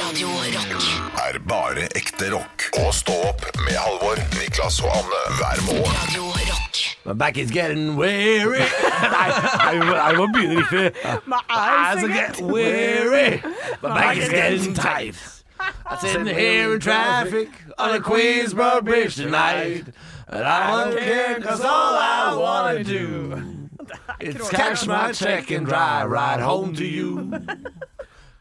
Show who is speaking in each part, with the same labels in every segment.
Speaker 1: Radio Rock.
Speaker 2: er bare ekte rock. Og stå opp med Halvor, Niklas og Anne hver morgen.
Speaker 1: Radio Rock.
Speaker 3: My back is getting weary.
Speaker 4: Nei, nei, vi må, nei, vi må begynne riktig.
Speaker 3: Eyes are getting weary. My back is getting tight. I'm sitting here in traffic on the Queensborough Bridge tonight. But I don't care, cause all I wanna do is cash my check and drive right home to you.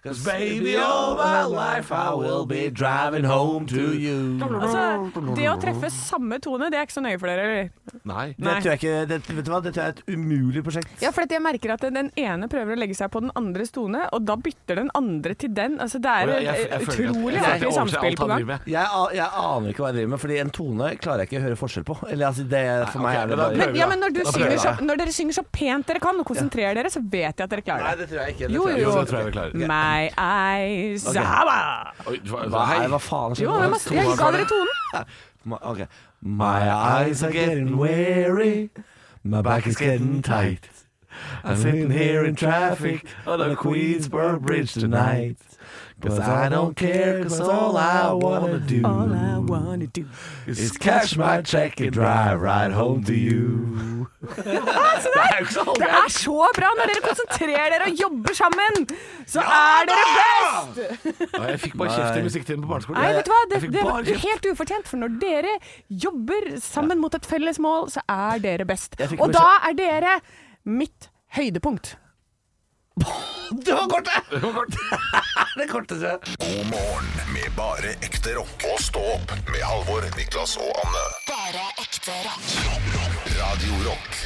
Speaker 3: Cause baby, all my life I will be driving home to you.
Speaker 5: Altså, det å treffe samme tone, det er ikke så nøye for dere, eller?
Speaker 3: Nei.
Speaker 4: Det tror jeg ikke, det, vet du hva? Dette er et umulig prosjekt.
Speaker 5: Ja, for at jeg merker at den ene prøver å legge seg på den andres tone, og da bytter den andre til den. Altså, det er
Speaker 6: Jeg- jeg-
Speaker 5: et
Speaker 6: jeg føler at-
Speaker 5: utrolig
Speaker 6: jeg
Speaker 5: vanskelig
Speaker 6: føler at jeg overser alt
Speaker 5: samspill på
Speaker 6: han
Speaker 5: gang.
Speaker 6: driver med.
Speaker 4: Jeg, a- jeg aner ikke hva jeg driver med, Fordi en tone klarer jeg ikke å høre forskjell på. Eller altså, det, For
Speaker 6: Nei,
Speaker 4: meg
Speaker 6: ok,
Speaker 4: er det
Speaker 6: men da
Speaker 4: bare
Speaker 5: Men, ja, men når, du
Speaker 6: Da prøver
Speaker 5: synger så,
Speaker 6: jeg.
Speaker 5: når dere synger så pent dere kan, og konsentrerer dere, så vet jeg at dere klarer det.
Speaker 3: det tror jeg ikke.
Speaker 5: Jo, jo,
Speaker 6: Jo, det tror
Speaker 5: jo.
Speaker 6: jeg vi klarer.
Speaker 5: My eyes
Speaker 6: Oi, hva,
Speaker 4: Hva,
Speaker 6: hei.
Speaker 4: er- hva faen
Speaker 5: Jo,
Speaker 4: skjer
Speaker 5: jeg,
Speaker 4: nå?
Speaker 5: må, jeg ga dere tonen.
Speaker 4: Ma- ok. My eyes are getting weary. My back is getting tight. I'm sitting here in traffic on the Queensborough Bridge tonight. Cause I don't care, cause all I wanna do
Speaker 5: All I wanna do.
Speaker 4: is cash my check and drive right home to you.
Speaker 5: Det er så bra når dere konsentrerer dere og jobber sammen! Så er dere best!
Speaker 6: Å, Jeg fikk bare kjeft i musikktiden på barneskolen.
Speaker 5: Nei, vet du hva? Det,
Speaker 6: Jeg fikk
Speaker 5: det
Speaker 6: bare
Speaker 5: er
Speaker 6: kjeft.
Speaker 5: helt ufortjent, for når dere jobber sammen mot et felles mål, så er dere best.
Speaker 4: Jeg fikk
Speaker 5: Og
Speaker 4: bare
Speaker 5: da er dere mitt høydepunkt.
Speaker 4: Det var kort, det! Det korteste.
Speaker 2: God morgen med bare ekte rock. Og stå opp med Halvor, Niklas og Anne.
Speaker 1: Bare ekte rock.
Speaker 2: Radio Rock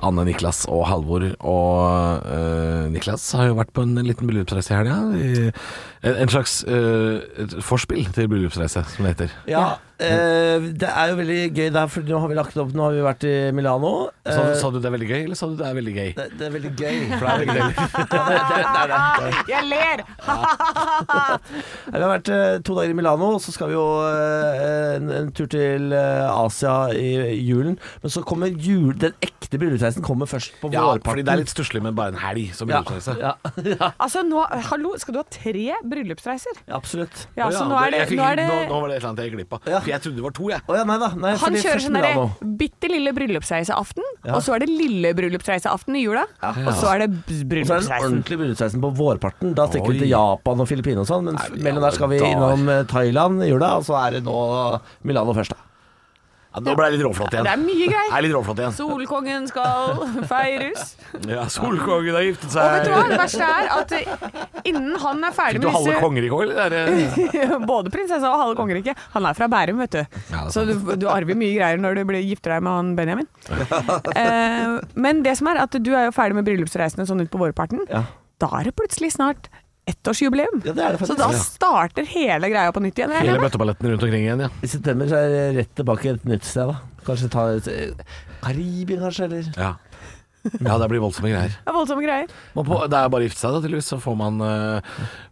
Speaker 6: Anne, Niklas og Halvor. Og eh, Niklas har jo vært på en liten bryllupsreise i helga. I- En, en slags eh, et forspill til bryllupsreise, som det heter.
Speaker 4: Ja, eh, det er jo veldig gøy der, for nå har vi lagt opp Nå har vi vært i Milano. Eh,
Speaker 6: Sa, du- sa du det er veldig gøy, eller sa du det er veldig gøy?
Speaker 4: det, det er veldig gøy. For det er veldig gøy.
Speaker 5: Jeg ler!
Speaker 4: Vi har vært eh, to dager i Milano, og så skal vi jo eh, en, en tur til eh, Asia i julen. Men så kommer jul, den ekte bryllupsreisen kommer først på
Speaker 6: Ja,
Speaker 4: vårparten.
Speaker 6: fordi det er litt stusslig med bare en helg som
Speaker 4: ja,
Speaker 6: bryllupsreise.
Speaker 4: ja,
Speaker 5: Altså, nå, hallo, skal du ha tre bryllupsreiser?
Speaker 4: absolutt.
Speaker 5: Ja,
Speaker 6: Å
Speaker 5: så nå er det,
Speaker 6: jeg fikk-
Speaker 5: nå er det
Speaker 6: nå, nå var det et eller annet jeg gikk glipp av.
Speaker 4: Ja.
Speaker 6: For jeg trodde det var to, jeg.
Speaker 4: Å ja, nei da. Nei,
Speaker 5: Han
Speaker 4: fordi
Speaker 5: kjører
Speaker 4: først
Speaker 5: sånn derre
Speaker 4: Milano.
Speaker 5: bitte lille bryllupsreiseaften,
Speaker 4: Ja.
Speaker 5: og så er det lille bryllupsreiseaften i jula, og så er
Speaker 4: Og Så er det
Speaker 5: det b-
Speaker 4: den
Speaker 5: bryllupsreisen.
Speaker 4: ordentlige bryllupsreisen på vårparten. Da stikker vi
Speaker 6: Oi.
Speaker 4: til Japan og Filippinene og sånn. Men
Speaker 6: Nei,
Speaker 4: mellom der skal vi
Speaker 6: ja, da.
Speaker 4: innom eh, Thailand i jula, og så er det nå Milano først, da.
Speaker 6: Ja, nå ble jeg litt råflott igjen.
Speaker 5: Det er mye
Speaker 6: Jeg
Speaker 5: greier.
Speaker 6: er litt råflott igjen.
Speaker 5: Solkongen skal feires.
Speaker 6: Ja, Solkongen har
Speaker 5: Og
Speaker 6: giftet
Speaker 5: vet
Speaker 6: seg.
Speaker 5: du hva, det verste er at eh, innen han er ferdig
Speaker 6: Fikk du
Speaker 5: med
Speaker 6: halve
Speaker 5: disse
Speaker 6: konger i går, eller?
Speaker 5: Både prinsessa og halve kongeriket. Han er fra Bærum, vet du.
Speaker 6: sant.
Speaker 5: så du, du arver mye greier når du blir, gifter deg med han Benjamin. Eh, men det som er at du er jo ferdig med bryllupsreisene sånn ut på vårparten.
Speaker 4: Ja.
Speaker 5: Da er det plutselig snart ettårsjubileum.
Speaker 4: Ja, det er det
Speaker 5: så
Speaker 4: faktisk.
Speaker 5: da
Speaker 4: Ja.
Speaker 5: starter hele greia på nytt igjen. regner jeg
Speaker 6: Hele
Speaker 5: med.
Speaker 6: bøtteballetten rundt omkring igjen, ja.
Speaker 4: I september så er det rett tilbake et nytt sted, da. Kanskje ta et eh, Karibien, kanskje, eller
Speaker 6: Ja, ja det blir voldsomme greier.
Speaker 5: Det er voldsomme greier.
Speaker 6: Man på, det er bare å gifte seg, da, tydeligvis. Så får man eh,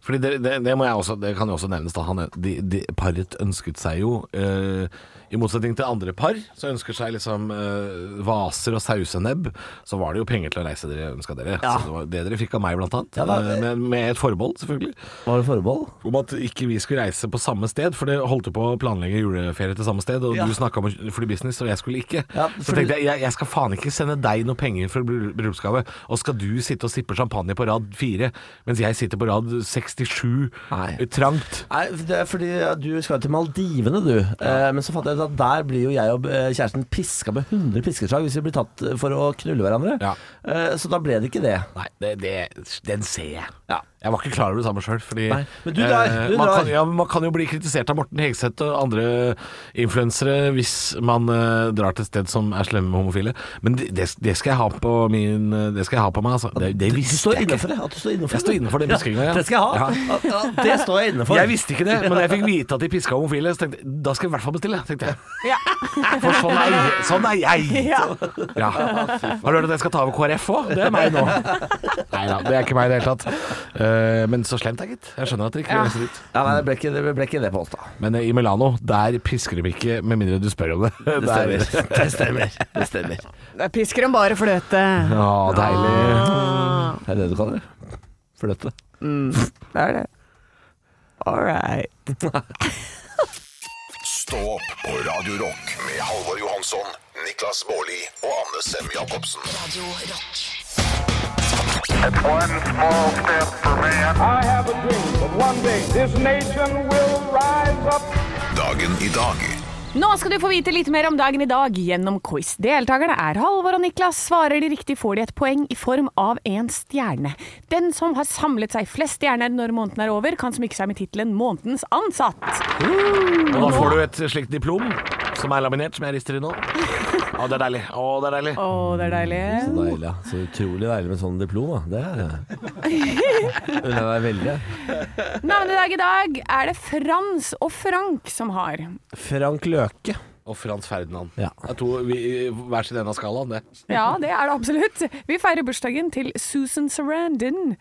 Speaker 6: Fordi det, det, det, må jeg også, det kan jo også nevnes, da. Han, de, de, paret ønsket seg jo eh, I motsetning til andre par, så ønsker seg liksom eh, vaser og sausenebb. Så var det jo penger til å reise dere ønska dere.
Speaker 4: Ja.
Speaker 6: Så det var det dere fikk av meg, blant annet.
Speaker 4: Ja, da-
Speaker 6: Eh, men med et forbehold, selvfølgelig.
Speaker 4: Var det forbehold?
Speaker 6: Om at ikke vi skulle reise på samme sted, for det holdt jo på å planlegge juleferie til samme sted, og
Speaker 4: Ja.
Speaker 6: du snakka om å fly business, og jeg skulle ikke.
Speaker 4: Ja,
Speaker 6: Så
Speaker 4: fordi-
Speaker 6: tenkte jeg, jeg jeg skal faen ikke sende deg noe penger for bryll- bryllupsgave, og skal du sitte og sippe champagne på rad fire, mens jeg sitter på rad 67
Speaker 4: Nei.
Speaker 6: trangt.
Speaker 4: Nei, det er fordi ja, du skal jo til Maldivene, du. Eh, men så fant jeg ut at der blir jo jeg og eh, kjæresten piska med 100 piskeslag hvis vi blir tatt eh, for å knulle hverandre.
Speaker 6: Ja.
Speaker 4: Eh, så da ble det ikke det.
Speaker 6: Nei, det, det, den ser jeg.
Speaker 4: Ja.
Speaker 6: Jeg var ikke klar over det samme sjøl.
Speaker 4: Nei, men du drar, du
Speaker 6: man,
Speaker 4: drar.
Speaker 6: kan- ja, men man kan jo bli kritisert av Morten Hegseth og andre influensere hvis man eh, drar til et sted som er slemme med homofile. Men det, det, det, skal jeg ha på min, det skal jeg ha på meg, altså. Det, det
Speaker 4: Du- du
Speaker 6: visste
Speaker 4: står
Speaker 6: jeg ikke.
Speaker 4: innenfor det. At du står innenfor
Speaker 6: Jeg står innenfor den piskingen, ja.
Speaker 4: Det skal jeg ha. Ja. det står jeg innenfor.
Speaker 6: Jeg visste ikke det, men jeg fikk vite at de piska homofile. Så tenkte jeg, da skal jeg i hvert fall bestille, tenkte jeg.
Speaker 5: Ja.
Speaker 6: For sånn er, jeg- sånn er jeg.
Speaker 5: Ja.
Speaker 6: Ja. Har du hørt at jeg skal ta over KrF òg? Det er meg nå. Nei da, det er ikke meg i det hele tatt. Eh, men så slemt, da, gitt. Jeg skjønner at dere ikke vil reise dit.
Speaker 4: Ja, nei, det ble ikke det, ble ikke det på oss, da.
Speaker 6: Men eh, i Milano, der pisker de ikke med mindre du spør om det.
Speaker 4: Det
Speaker 6: Der-
Speaker 4: stemmer. Det stemmer. Det stemmer.
Speaker 5: Da pisker de bare fløte. Ah.
Speaker 6: Å, deilig.
Speaker 5: Mm.
Speaker 4: Er det det du kaller det? Fløte.
Speaker 5: Det er det. All right.
Speaker 2: Stå opp på Radio Rock med Halvor Johansson, Niklas Baarli og Anne Sem Jacobsen.
Speaker 1: Radio Rock.
Speaker 7: One small step for man.
Speaker 8: I have a dream that one day this nation will rise up.
Speaker 2: Dagen i dag
Speaker 5: Nå skal du få vite litt mer om dagen i dag gjennom quiz. Deltakerne er Halvor og Niklas. Svarer de riktig, får de et poeng i form av en stjerne. Den som har samlet seg flest stjerner når måneden er over, kan smykke seg med tittelen 'Månedens ansatt'.
Speaker 6: Og da får du et slikt diplom, som er laminert, som jeg rister i nå. Å, det er deilig. Å, det er deilig.
Speaker 5: Å, det er deilig.
Speaker 4: Deilig, ja. Så utrolig deilig med sånn diplom, da. Det er det. Det er veldig.
Speaker 5: Navnedag i dag er det Frans og Frank som har.
Speaker 4: Frank Løke.
Speaker 6: Og Frans Ferdinand.
Speaker 4: Ja.
Speaker 6: Det er to vi, hver sin ende av skalaen, det.
Speaker 5: Ja, det er det absolutt. Vi feirer bursdagen til Susan Sarandon.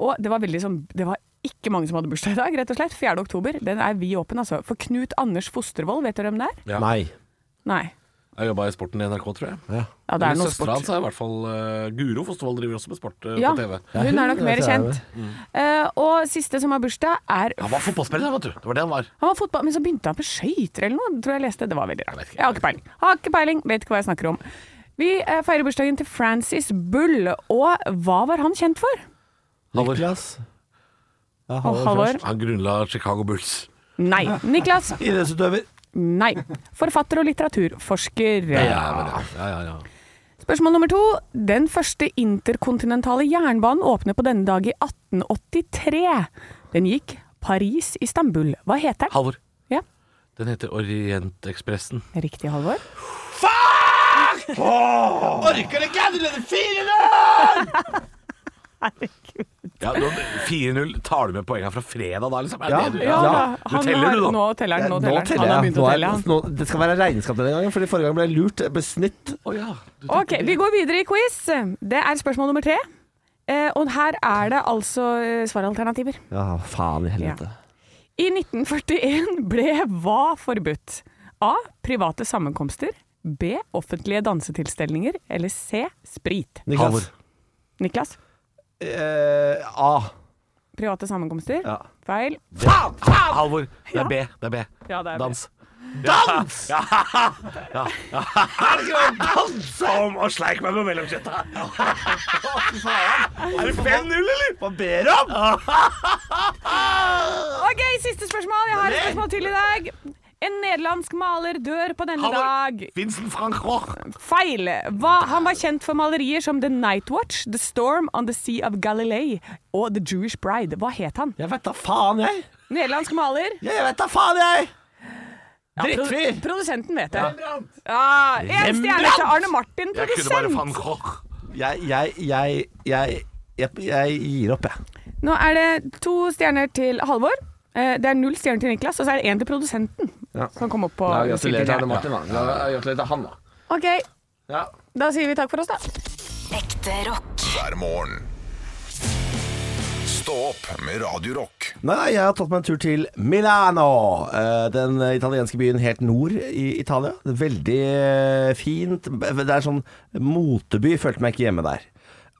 Speaker 5: Og det var veldig sånn Det var ikke mange som hadde bursdag i dag, rett og slett. 4. oktober. Den er vi åpen, altså. For Knut Anders Fostervoll, vet dere hvem det er?
Speaker 6: Ja.
Speaker 4: Nei.
Speaker 5: Nei.
Speaker 6: Jeg jobba i sporten i NRK, tror jeg.
Speaker 4: Ja.
Speaker 5: Ja, det er
Speaker 6: Men
Speaker 5: noe
Speaker 6: Søstera
Speaker 5: sport.
Speaker 6: hans er i hvert fall eh, Guro Fostervoll driver også med sport eh,
Speaker 5: Ja,
Speaker 6: på TV. Mm.
Speaker 5: hun er nok
Speaker 4: hun er
Speaker 5: mer
Speaker 4: fra
Speaker 5: kjent. Eh, og siste som har bursdag, er
Speaker 6: Han var fotballspiller, vet du. Det var det han var.
Speaker 5: Han var fotball, men så begynte han på skøyter eller noe, tror jeg jeg leste. Det var veldig
Speaker 6: Jeg vet
Speaker 5: rart.
Speaker 6: ikke.
Speaker 5: Jeg har ikke peiling. Har ikke peiling, vet ikke hva jeg snakker om. Vi eh, feirer bursdagen til Francis Bull, og hva var han kjent for?
Speaker 6: Halvor.
Speaker 4: Niklas. Ja,
Speaker 5: Og Halvor?
Speaker 6: Han grunnla Chicago Bulls.
Speaker 5: Nei. Niklas?
Speaker 4: Idrettsutøver.
Speaker 5: Nei. Forfatter og litteraturforsker.
Speaker 6: men ja. ja, ja, ja.
Speaker 5: Spørsmål nummer to. Den første interkontinentale jernbanen åpner på denne dag i 1883. Den gikk Paris-Istanbul. Hva heter den?
Speaker 6: Halvor.
Speaker 5: Ja,
Speaker 6: Den heter Orientekspressen.
Speaker 5: Riktig, Halvor.
Speaker 6: Ja, nå- 4-0. Tar du med poengene fra fredag da, liksom? Er
Speaker 4: Ja.
Speaker 6: det du-
Speaker 4: Ja,
Speaker 6: Du teller,
Speaker 5: har-
Speaker 6: du, da.
Speaker 5: Nå teller han. Nå
Speaker 4: Nå
Speaker 5: teller han.
Speaker 4: teller
Speaker 5: han har
Speaker 4: jeg.
Speaker 5: begynt
Speaker 4: Nå
Speaker 5: å
Speaker 4: er-
Speaker 5: telle. han.
Speaker 4: nå, det skal være regnskap denne gangen, fordi forrige gang ble jeg lurt. Jeg ble snytt.
Speaker 6: Å ja. Du tenker
Speaker 5: Ok, Vi går videre i quiz. Det er spørsmål nummer tre. Eh, og her er det altså eh, svaralternativer.
Speaker 4: Ja, faen i helvete.
Speaker 5: I 1941 ble hva forbudt? A. Private sammenkomster. B. Offentlige dansetilstelninger. Eller C. Sprit.
Speaker 4: Niklas.
Speaker 5: Niklas.
Speaker 4: Eh, A.
Speaker 5: Private sammenkomster.
Speaker 4: Ja.
Speaker 5: Feil.
Speaker 6: det. Halvor. Det er B. Det er B.
Speaker 5: Ja, det er B.
Speaker 6: Dans. Dans! Ja. Ja. Ja. Jeg skal danse om og sleike meg på mellomkjøttet. Er det 5-0, eller? Hva ber du om?
Speaker 5: Ok, Siste spørsmål. Jeg har et spørsmål til i dag. En nederlandsk maler dør på denne dag.
Speaker 6: Vincent Frank Roch.
Speaker 5: Feil. Hva, han var kjent for malerier som The Night Watch, The Storm on the Sea of Galilee og The Jewish Bride. Hva het han?
Speaker 4: Jeg vet da faen, jeg.
Speaker 5: Nederlandsk maler.
Speaker 4: Jeg vet da faen, jeg.
Speaker 5: pro-
Speaker 4: Drittfyr.
Speaker 5: Produsenten vet det. Ja, en stjerne til Arne Martin,
Speaker 6: Jeg kunne bare
Speaker 5: produsent.
Speaker 6: Frank Roch.
Speaker 4: Jeg, jeg, jeg, jeg, jeg, jeg gir opp, jeg.
Speaker 5: Nå er det to stjerner til Halvor. Eh, Det er null stjerner til Niklas, og så er det én til produsenten.
Speaker 4: Ja.
Speaker 5: Som kom opp på
Speaker 4: Martin. Gratulerer til han, da.
Speaker 5: Ok,
Speaker 4: Ja.
Speaker 5: da sier vi takk for oss, da.
Speaker 1: Ekte rock.
Speaker 2: hver morgen. Stå opp med Radio Rock.
Speaker 4: Nei, jeg har tatt meg en tur til Milano. eh, Den italienske byen helt nord i Italia. Veldig eh, fint. Det er sånn moteby. Følte meg ikke hjemme der.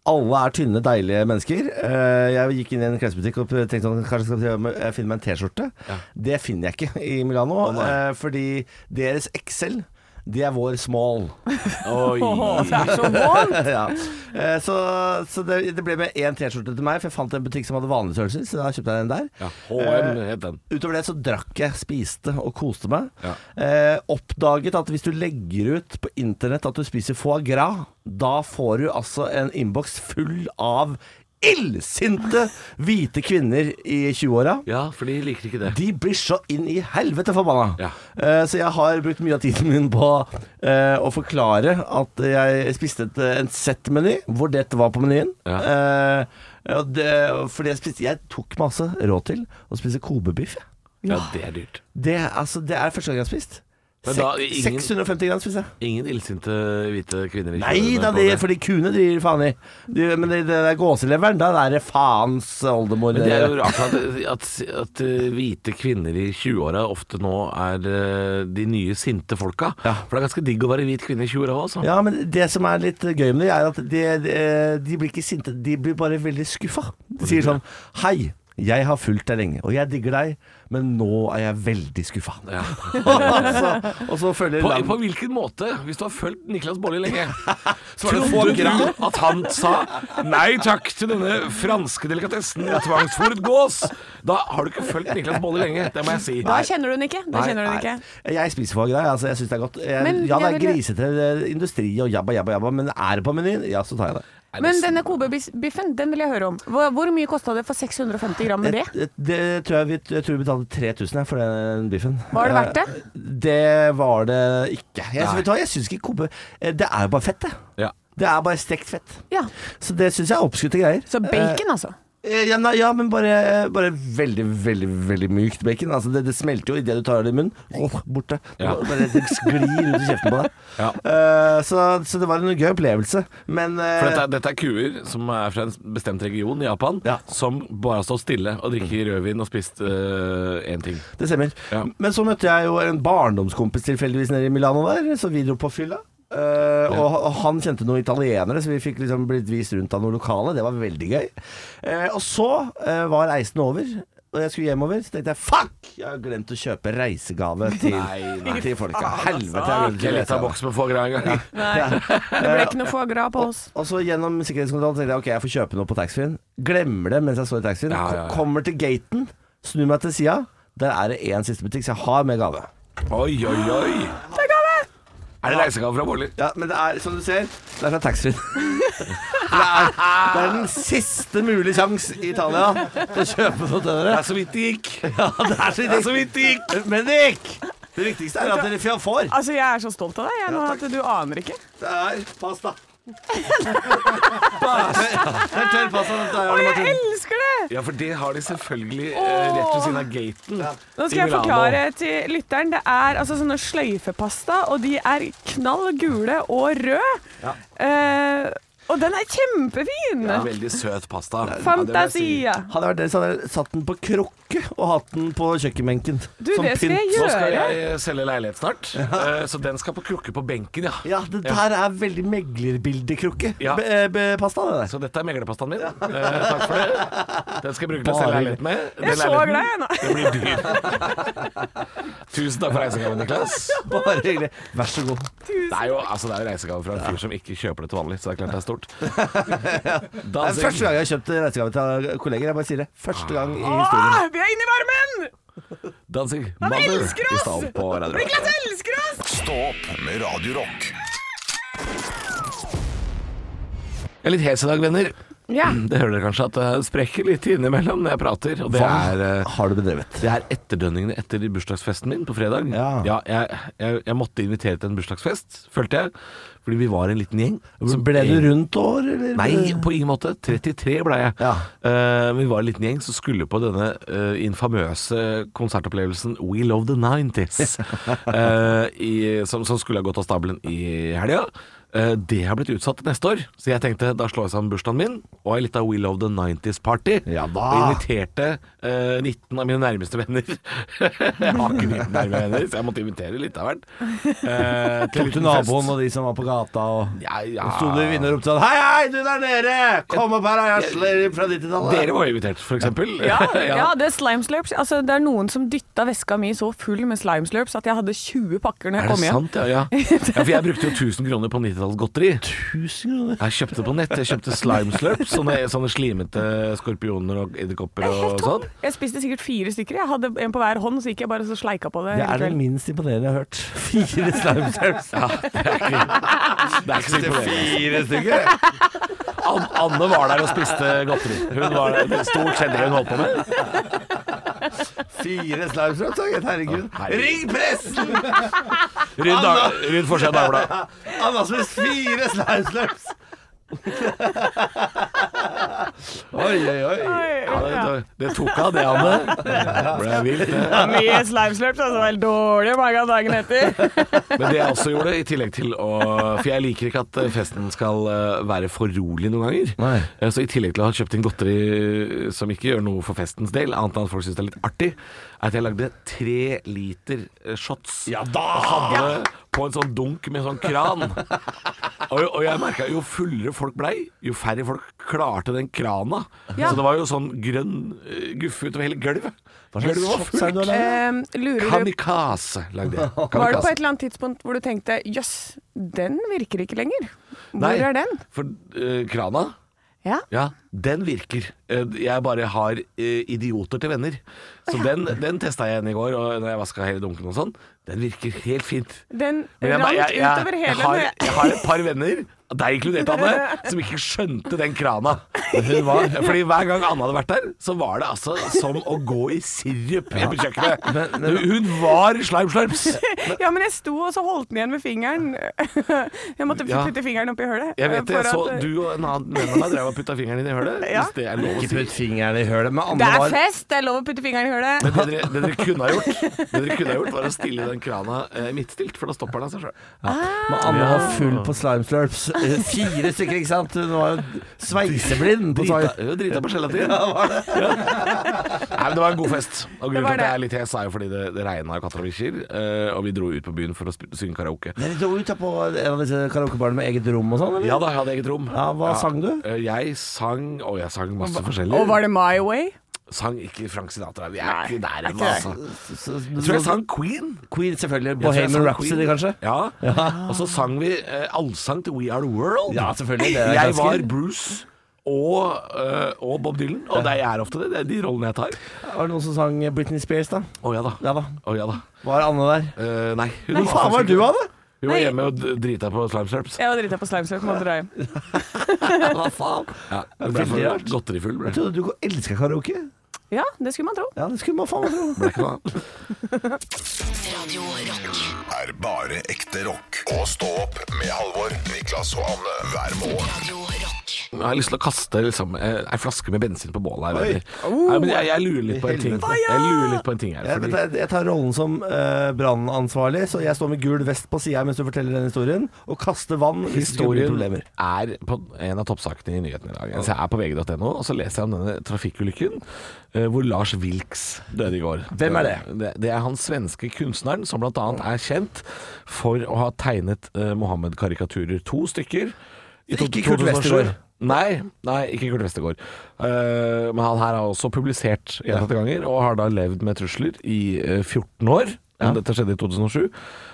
Speaker 4: Alle er tynne, deilige mennesker. Eh, Jeg gikk inn i en klesbutikk og tenkte sånn, kanskje skal jeg finne meg en T-skjorte. Det finner jeg ikke i Milano, eh, fordi deres XL, det er vår small.
Speaker 5: Åh, det er så vondt.
Speaker 4: ja. Eh, Så, så det, det ble med én T-skjorte til meg, for jeg fant en butikk som hadde vanlige størrelser, så da kjøpte jeg den der. Eh,
Speaker 6: Ja, HM het den.
Speaker 4: Utover det så drakk jeg, spiste og koste meg.
Speaker 6: Ja.
Speaker 4: Eh, oppdaget at hvis du legger ut på internett at du spiser foie gras, da får du altså en innboks full av illsinte hvite kvinner i 20-åra.
Speaker 6: Ja, for de liker ikke det.
Speaker 4: De blir så inn i helvete forbanna.
Speaker 6: Ja.
Speaker 4: Eh, så jeg har brukt mye av tiden min på eh, å forklare at jeg spiste et, en Z-meny, hvor dette var på menyen.
Speaker 6: Ja.
Speaker 4: Eh, og det, fordi jeg, spiste, jeg tok masse råd til å spise kobebiff. jeg.
Speaker 6: Ja, det er dyrt.
Speaker 4: Det, er- altså, det er første gang jeg har spist.
Speaker 6: Men
Speaker 4: Sek,
Speaker 6: da, ingen-
Speaker 4: 650 gram spiser jeg.
Speaker 6: Ingen illsinte hvite kvinner. liker
Speaker 4: Nei
Speaker 6: det
Speaker 4: da,
Speaker 6: på
Speaker 4: de, fordi kuene de gir faen i. De, men det det der gåseleveren, da er det faens oldemor.
Speaker 6: Men det er jo rart at, at, at eh, hvite kvinner i 20-åra ofte nå er eh, de nye sinte folka. For det er ganske digg å være hvit kvinne i 20-åra òg, altså.
Speaker 4: Ja, men det som er litt gøy med det, er at de, de, de blir ikke sinte, de blir bare veldig skuffa. De sier sånn Hei, Jeg har fulgt deg lenge, og jeg digger deg, men nå er jeg veldig skuffa. og, så, og så følger
Speaker 6: På,
Speaker 4: Lam-
Speaker 6: på hvilken måte? Hvis du har fulgt Niklas Baarli lenge, så var det
Speaker 4: Trodde
Speaker 6: få gram at han sa nei takk til denne franske delikatessen og tvangsfòret gås. Da har du ikke fulgt Niklas Baarli lenge, det må jeg si.
Speaker 5: Da kjenner du den ikke. Da kjenner du den ikke.
Speaker 4: Jeg spiser for greier, altså jeg syns det er godt. Jeg,
Speaker 5: Men
Speaker 4: ja, det
Speaker 5: jeg
Speaker 4: er
Speaker 5: ville-
Speaker 4: grisete eh, industri og jabba, jabba, jabba, men er det på menyen, ja, så tar jeg det.
Speaker 5: Men denne Kobe-biffen, den vil jeg høre om. Hvor, hvor mye kosta det for 650 gram med det?
Speaker 4: Jeg, det tror jeg, vi, jeg tror vi betalte 3000 her for den biffen.
Speaker 5: Var det verdt det?
Speaker 4: Eh, Det var det ikke. Jeg,
Speaker 6: Nei.
Speaker 4: vet du hva, jeg syns ikke Kobe eh, Det er jo bare fett, det.
Speaker 6: Ja.
Speaker 4: Det er bare stekt fett.
Speaker 5: Ja.
Speaker 4: Så det syns jeg er oppskrytte greier.
Speaker 5: Så bacon, altså.
Speaker 4: Eh, Ja, nei, ja men bare, eh, bare veldig, veldig veldig mykt bacon. Altså, det, det smelter jo idet du tar det i munnen. Åh, borte. Det
Speaker 6: Ja.
Speaker 4: bare- Bare det sklir rundt i kjeften på deg.
Speaker 6: Ja.
Speaker 4: Eh, så, så det var en gøy opplevelse. Men eh,
Speaker 6: For dette, er- dette er kuer som er fra en bestemt region i Japan,
Speaker 4: Ja.
Speaker 6: som bare har stått stille og drikket rødvin og spist øh, én ting.
Speaker 4: det stemmer.
Speaker 6: Ja.
Speaker 4: Men så møtte jeg jo en barndomskompis tilfeldigvis nede i Milano der, så vi dro på fylla. Eh, og, og han kjente noen italienere, så vi fikk liksom blitt vist rundt av noen lokale. Det var veldig gøy. Eh, og så eh, var reisen over, og jeg skulle hjemover. Så tenkte jeg fuck, jeg har glemt å kjøpe reisegave til, til folka. Helvete, jeg har glemt å
Speaker 6: altså. Ikke
Speaker 4: kjøpe
Speaker 6: litt av
Speaker 4: reisegave.
Speaker 6: boks med få greier engang.
Speaker 5: Det ble ikke noe foie gras på oss.
Speaker 4: Og så gjennom sikkerhetskontrollen tenkte jeg ok, jeg får kjøpe noe på taxfree-en. Glemmer det mens jeg står i taxfree-en.
Speaker 6: Ja, ja, ja.
Speaker 4: Ko- Kommer til gaten, snur meg til sida. Der er det én siste butikk, så jeg har med gave.
Speaker 6: Oi, oi, oi. Er det reisegave fra Baarli?
Speaker 4: Ja, Men det er, som du ser, det er fra taxfree-en. det, er- det er den siste mulige sjans i Italia til å kjøpe noe til dere.
Speaker 6: Det er så vidt det gikk.
Speaker 4: Ja, det er så vidt det gikk. Men det gikk. Det viktigste er at dere f- får.
Speaker 5: Altså, jeg er så stolt av deg, jeg, nå at du aner ikke.
Speaker 4: Det er pasta. pasta. Det er tørr pasta. dette er Arne Martin.
Speaker 5: Jeg elsker det!
Speaker 6: Ja, for det har de selvfølgelig eh, rett ved siden av gaten.
Speaker 5: Nå skal
Speaker 6: I
Speaker 5: jeg
Speaker 6: Milano.
Speaker 5: forklare til lytteren. Det er altså sånne sløyfepasta, og de er knall gule og røde. Eh, og den er kjempefin!
Speaker 6: Det er veldig søt pasta.
Speaker 5: Fantasia.
Speaker 4: Hadde jeg vært dere, så hadde jeg satt den på krukke og hatt den på kjøkkenbenken.
Speaker 5: Du, det skal jeg
Speaker 6: Nå skal
Speaker 5: gjøre.
Speaker 6: jeg eh, selge leilighet snart, eh, så den skal på krukke på benken, ja.
Speaker 4: Ja, det der er veldig meglerbildekrukke.
Speaker 6: Ja.
Speaker 4: Be- be- Pasta, det der.
Speaker 6: Så dette er meglerpastaen min. Eh, takk for det. Den skal jeg bruke til å
Speaker 4: Bare
Speaker 6: selge leilighet med. Den
Speaker 5: Jeg er så
Speaker 6: leiligheten,
Speaker 5: glad jeg nå.
Speaker 6: Det blir dyr. Tusen takk for reisegaven, Niklas.
Speaker 4: Bare hyggelig. Vær så god.
Speaker 6: Det er jo altså, det er jo reisegave fra en fyr som ikke kjøper det til vanlig, så det er klart det er stort.
Speaker 4: Det er første
Speaker 6: Dansing.
Speaker 4: gang jeg har kjøpt reisegave til kolleger. Jeg bare sier det. Første gang i historien.
Speaker 5: Åh, vi er inne i varmen!
Speaker 6: Dansing.
Speaker 5: Han
Speaker 6: Mother
Speaker 5: elsker
Speaker 6: i
Speaker 5: oss!
Speaker 6: stad på Radio Rock.
Speaker 5: Niklas elsker oss!
Speaker 2: Stå opp med Radio Rock.
Speaker 6: Jeg er litt hes i dag, venner.
Speaker 5: Ja.
Speaker 6: Det hører dere kanskje at det sprekker litt innimellom når jeg prater. Og det
Speaker 4: Hva
Speaker 6: er, eh,
Speaker 4: har du bedrevet?
Speaker 6: det er etterdønningene etter bursdagsfesten min på fredag.
Speaker 4: Ja.
Speaker 6: jeg, jeg, jeg måtte invitere til en bursdagsfest, følte jeg. Fordi vi var en liten gjeng. som
Speaker 4: Ble du
Speaker 6: egentlig-
Speaker 4: rundt år, eller?
Speaker 6: Nei, på ingen måte. 33 ble jeg.
Speaker 4: Ja.
Speaker 6: Eh, vi var en liten gjeng som skulle på denne eh, infamøse konsertopplevelsen We Love The 90s, eh, i, som, som skulle ha gått av stabelen i helga. Eh, det har blitt utsatt til neste år, så jeg tenkte da slår jeg sammen bursdagen min og ei lita We Love The 90s-party.
Speaker 4: Ja da.
Speaker 6: Og inviterte eh, 19 av mine nærmeste venner. jeg har ikke 19 nærme venner, så jeg måtte invitere litt av hvert. eh, til en
Speaker 4: Tok du
Speaker 6: liten
Speaker 4: naboen
Speaker 6: fest.
Speaker 4: og de som var på gata, og
Speaker 6: Ja, ja.
Speaker 4: og sto du i vinduet og ropte sånn Hei, hei, du der nede! Kom opp her, jeg sler fra 90-tallet.
Speaker 6: Dere var invitert, for eksempel.
Speaker 5: Ja, ja, det er slime slurps. Altså, det er noen som dytta veska mi så full med slime slurps at jeg hadde 20 pakker når jeg
Speaker 6: Er det
Speaker 5: kom hjem.
Speaker 6: sant? Ja, ja. ja, for jeg brukte jo 1000 kroner på 90-tallets godteri.
Speaker 4: 1000 kroner.
Speaker 6: Jeg kjøpte det på nett. Jeg kjøpte slime slurps, sånne, sånne slimete skorpioner og edderkopper og sånn.
Speaker 5: Jeg spiste sikkert fire stykker. Jeg hadde en på hver hånd, så gikk jeg bare så sleika på det.
Speaker 4: Det
Speaker 5: hele
Speaker 4: er det
Speaker 5: kvelden.
Speaker 4: minst imponerende jeg har hørt. Fire slimeserves.
Speaker 6: Ja, det er ikke, det er ikke så imponerende.
Speaker 4: Fire stykker?
Speaker 6: An- Anne var der og spiste godteri. Hun var det er stort sett det hun holdt på med.
Speaker 4: Fire slimeserves, takk. Herregud. Ring pressen!
Speaker 6: Rundt, dag, rundt forsida av Dagbladet.
Speaker 4: Anasmus, fire slimeserves! Oi, oi, oi.
Speaker 6: Ja, det, det tok av, det, Anne. Det ble vilt, det.
Speaker 5: Mye slime slurps, altså. Vel dårlig mange av dagen etter.
Speaker 6: Men det jeg også gjorde, i tillegg til å For jeg liker ikke at eh, festen skal eh, være for rolig noen ganger.
Speaker 4: Nei.
Speaker 6: Eh, Så i tillegg til å ha kjøpt inn godteri eh, som ikke gjør noe for festens del, annet enn at folk syns det er litt artig, er at jeg lagde tre liter eh, shots.
Speaker 4: Ja da!
Speaker 6: Hadde på en sånn dunk med en sånn kran. Og, og jeg merka jo fullere folk blei, jo færre folk klarte den krana.
Speaker 5: Ja.
Speaker 6: Så det var jo sånn grønn eh, guffe utover hele gulvet. Gulvet var
Speaker 4: Slapp seg
Speaker 6: fullt.
Speaker 4: nå, da.
Speaker 5: Ehm, lurer du
Speaker 6: Kamikaze lagde
Speaker 5: Var det
Speaker 6: jeg.
Speaker 5: på
Speaker 6: Kamikaze.
Speaker 5: et eller annet tidspunkt hvor du tenkte jøss, den virker ikke lenger? Hvor
Speaker 6: Nei,
Speaker 5: er den?
Speaker 6: For eh, krana
Speaker 5: Ja.
Speaker 6: ja, den virker. Eh, Jeg bare har eh, idioter til venner. Så den, den testa jeg igjen i går, og når jeg vaska hele dunken og sånn. Den virker helt fint.
Speaker 5: Den
Speaker 6: Men jeg,
Speaker 5: rant
Speaker 6: jeg, jeg, jeg,
Speaker 5: utover hele
Speaker 6: har,
Speaker 5: nø-
Speaker 6: jeg har et par venner, deg inkludert, Anne, som ikke skjønte den krana. Fordi hver gang Anne hadde vært der, så var det altså som å gå i sirup hjemme på kjøkkenet. Hun var slimeslarps.
Speaker 5: Ja, men jeg sto og så holdt den igjen med fingeren. Jeg måtte
Speaker 6: Ja.
Speaker 5: putte fingeren oppi hølet.
Speaker 6: Jeg vet det,
Speaker 5: for
Speaker 6: jeg så
Speaker 5: at-
Speaker 6: du og en annen venn av meg drev og putta fingeren inn i hølet.
Speaker 5: Ja.
Speaker 6: Hvis det er lov å
Speaker 4: Ikke
Speaker 6: si.
Speaker 4: putt fingeren i hølet, men
Speaker 5: Det
Speaker 4: Anne
Speaker 5: er
Speaker 4: var
Speaker 5: fest! Det er lov å putte fingeren i hølet.
Speaker 6: Men det dere, det dere kunne ha gjort, det dere kunne ha gjort var å stille den krana eh, midtstilt, for da stopper den av seg sjøl.
Speaker 4: Men Anne var full på slime slurps. Eh, Fire stykker, ikke sant? Hun var jo sveiseblind på slime.
Speaker 6: Drita, drita på gelatinen. Nei, men det var en god fest. Og grunnen
Speaker 5: var
Speaker 6: til at jeg
Speaker 5: det.
Speaker 6: er litt hes, er jo fordi det, det regna i Katter og bikkjer, eh, og vi dro ut på byen for å sp- synge karaoke.
Speaker 4: Dere dro ut da på en av disse karaokebarene med eget rom og sånn, eller?
Speaker 6: Ja da, jeg hadde eget rom.
Speaker 4: Ja, hva sang du?
Speaker 6: Eh, Jeg sang Og jeg sang masse forskjellig.
Speaker 5: Og var det My Way?
Speaker 6: Sang ikke Frank Sinatra. Vi er ikke der ennå, altså.
Speaker 4: Så-
Speaker 6: Jeg tror jeg sang Queen.
Speaker 4: Queen, selvfølgelig.
Speaker 6: Jeg tror jeg
Speaker 4: Bohemian
Speaker 6: sang
Speaker 4: Rhapsody,
Speaker 6: Queen.
Speaker 4: kanskje?
Speaker 6: Ja. Og så sang vi eh, allsang til We Are The World.
Speaker 4: Ja, selvfølgelig. Det er
Speaker 6: jeg
Speaker 4: klassiker.
Speaker 6: var Bruce og, eh, og Bob Dylan, og det er jeg er ofte det. Det er de rollene jeg tar.
Speaker 4: Var det noen som sang eh, Britney Spears, da?
Speaker 6: Å ja da.
Speaker 4: Ja da.
Speaker 6: Å, ja da.
Speaker 4: Var Anne der?
Speaker 6: Eh, nei. Hun
Speaker 4: Hvor faen var du, Anne?
Speaker 6: Hun var hjemme og d- drita på slimeslurps.
Speaker 5: Jeg var drita på slimesløp, måtte dra hjem.
Speaker 4: Hva faen?
Speaker 6: Ja, det ble
Speaker 4: Veldig rart.
Speaker 6: for godterifull. Ble.
Speaker 4: Jeg trodde du elska karaoke.
Speaker 5: Ja, det skulle man tro.
Speaker 4: Ja, det skulle man faen meg tro.
Speaker 6: Ble ikke noe av.
Speaker 1: Radio Rock.
Speaker 2: er bare ekte rock. Og stå opp med Halvor, Niklas og Anne hver morgen.
Speaker 1: Radio Rock.
Speaker 6: Jeg har lyst til å kaste liksom, eh, ei flaske med bensin på bålet her. venner. Nei, men jeg, jeg lurer litt på en ting. Jeg lurer litt på en ting her.
Speaker 4: Jeg,
Speaker 6: Fordi,
Speaker 4: vet du, jeg tar rollen som eh, brannansvarlig, så jeg står med gul vest på sida mens du forteller den historien, og kaster vann hvis det blir
Speaker 6: Historien
Speaker 4: problemer.
Speaker 6: er på en av toppsakene i nyhetene i dag. Altså, jeg er på vg.no, og så leser jeg om denne trafikkulykken eh, hvor Lars Wilks døde i går.
Speaker 4: Hvem er det?
Speaker 6: det? Det er han svenske kunstneren som bl.a. er kjent for å ha tegnet eh, Mohammed-karikaturer. To stykker. i to-
Speaker 4: Ikke Kurt
Speaker 6: 2007.
Speaker 4: Westergaard.
Speaker 6: Nei, nei, ikke Kurt Westergaard. Eh, men han her har også publisert gjentatte ganger, og har da levd med trusler i eh, 14 år. Dette skjedde i 2007.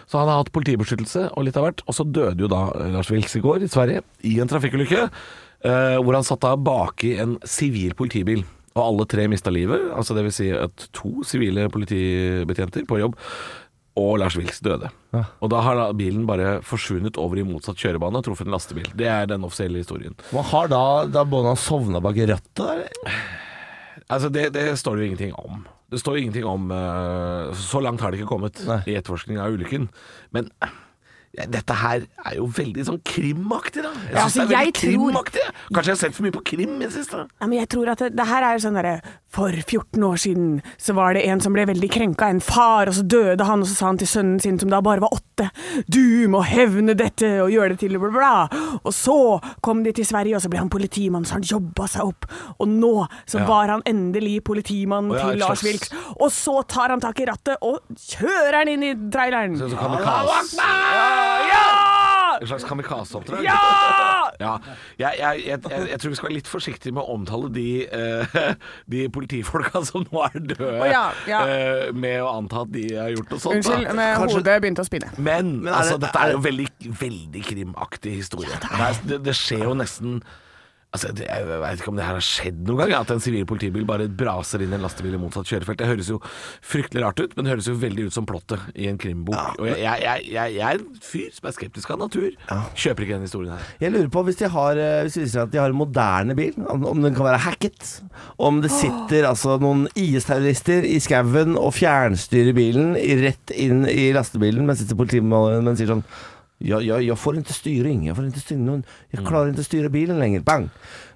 Speaker 6: Så han har hatt politibeskyttelse og litt av hvert. Og så døde jo da eh, Lars Vilks i går i Sverige i en trafikkulykke, eh, hvor han satt da baki en sivil politibil. Og alle tre mista livet, altså dvs. Si at to sivile politibetjenter på jobb og Lars Wilks døde. Og da har da bilen bare forsvunnet over i motsatt kjørebane og truffet en lastebil. Det er den offisielle historien.
Speaker 4: Man har da, da Bona sovna bak i rattet, eller?
Speaker 6: Altså, det, det står det jo ingenting om. Det står jo ingenting om eh, Så langt har det ikke kommet
Speaker 4: Nei.
Speaker 6: i etterforskning av ulykken. Men eh, ja, dette her er jo veldig sånn krimaktig, da. Jeg
Speaker 5: Ja,
Speaker 6: synes
Speaker 5: altså,
Speaker 6: det er veldig
Speaker 5: jeg tror-
Speaker 6: krimaktig. jeg. Kanskje jeg har sett for mye på krim i det siste.
Speaker 5: Ja, men jeg tror at det, det her er jo sånn derre For 14 år siden så var det en som ble veldig krenka, en far, og så døde han, og så sa han til sønnen sin, som da bare var åtte, du må hevne dette og gjøre det til bla, bla, bla. Og så kom de til Sverige, og så ble han politimann, så han jobba seg opp. Og nå så var han endelig politimann
Speaker 6: Å ja, et
Speaker 5: til Lars
Speaker 6: slags-
Speaker 5: Wilks. Og så tar han tak i rattet og kjører han inn i traileren.
Speaker 6: Så, så kamikaze,
Speaker 5: Ja!
Speaker 6: en slags kamikazeoppdrag.
Speaker 5: Ja!
Speaker 6: Ja, jeg, jeg, jeg, jeg, jeg tror vi skal være litt forsiktige med å omtale de, eh, de politifolka som nå er døde,
Speaker 5: Å ja, ja.
Speaker 6: eh, med å anta at de har gjort noe sånt. da.
Speaker 5: Unnskyld, men
Speaker 4: Kanskje-
Speaker 5: hodet begynte å spinne.
Speaker 6: Men,
Speaker 4: Men er
Speaker 6: altså,
Speaker 4: det-
Speaker 6: dette
Speaker 4: er
Speaker 6: er jo veldig, veldig krimaktig historie. det, er- det, det skjer jo nesten Altså, det, jeg vet ikke om det her har skjedd noen gang, at en sivil politibil bare braser inn i en lastebil i motsatt kjørefelt. Det høres jo fryktelig rart ut, men det høres jo veldig ut som plottet i en krimbok. Og jeg, jeg, jeg, jeg, jeg er en fyr som er skeptisk av natur. Kjøper ikke den historien her.
Speaker 4: Jeg lurer på, hvis de har eh, Hvis det viser seg at de har en moderne bil, om, om den kan være hacket, om det sitter altså noen IS-terrorister i skauen og fjernstyrer bilen rett inn i lastebilen, men sitter politimannen og sier sånn Mm. ja, ja, jeg får ikke styring. Jeg, får ikke styring. Jeg klarer ikke å styre bilen lenger. Bang!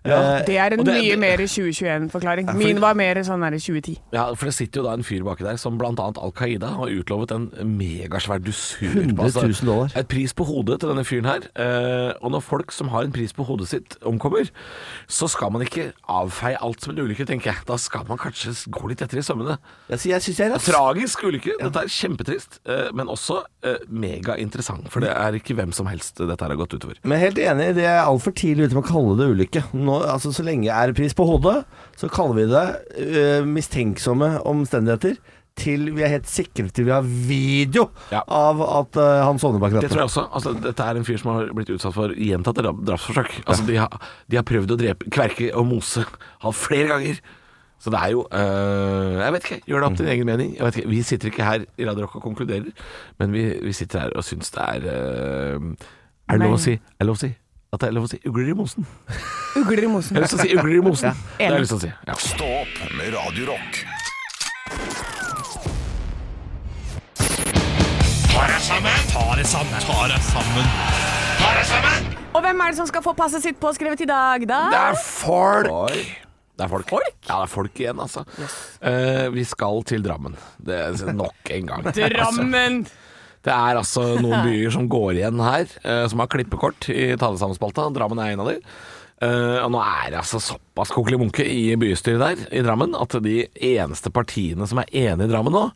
Speaker 6: Ja.
Speaker 5: Det er en
Speaker 6: Og det-
Speaker 5: mye
Speaker 6: det-
Speaker 5: mer 2021-forklaring.
Speaker 6: Ja, for-
Speaker 5: Min var mer sånn der 2010.
Speaker 6: Ja, for det sitter jo da en fyr baki der som blant annet Al Qaida har utlovet en megasvær dusør.
Speaker 4: 100 000 dollar.
Speaker 6: Et pris på hodet til denne fyren her. Eh, og når folk som har en pris på hodet sitt omkommer, så skal man ikke avfeie alt som en ulykke, tenker jeg. Da skal man kanskje gå litt etter i sømmene.
Speaker 4: Jeg sier- jeg syns jeg er rask.
Speaker 6: Tragisk ulykke. Dette er kjempetrist, eh, men også eh, megainteressant. For det er ikke hvem som helst dette her har gått utover.
Speaker 4: Men helt enig, det er altfor tidlig ute med å kalle det ulykke. Nå, altså, så lenge det er pris på hodet, så kaller vi det øh, mistenksomme omstendigheter. Til vi er helt sikre til vi har video
Speaker 6: Ja.
Speaker 4: av at øh, han sovner bak
Speaker 6: Det tror
Speaker 4: rattet.
Speaker 6: jeg også. Altså, dette er en fyr som har blitt utsatt for gjentatte drap- drapsforsøk. Altså, de, har, de har prøvd å drepe, kverke og mose han flere ganger. Så det er jo øh, Jeg vet ikke. Gjør det opp til din egen mening. Jeg vet ikke, vi sitter ikke her i Radio Rock og konkluderer, men vi, vi sitter her og syns det er øh, Er det lov å si Er det lov å si at det er lov å si ugler i mosen?
Speaker 5: Ugler i mosen.
Speaker 6: Jeg har lyst til å si ugler i mosen. Det har jeg
Speaker 5: Enig.
Speaker 6: lyst til å si. Ja.
Speaker 2: Stå opp med Radio Rock.
Speaker 5: Og hvem er det som skal få passet sitt påskrevet i dag, da?
Speaker 6: Det er folk! Det er folk. Ja, det er folk igjen, altså. Eh, vi skal til Drammen. Det er nok en gang.
Speaker 5: Drammen!
Speaker 6: Det er altså noen byer som går igjen her, eh, som har klippekort i talesammenspalta. Drammen er en av de. Eh, og nå er det altså såpass kokelig munke i bystyret der, i Drammen, at de eneste partiene som er enige i Drammen nå,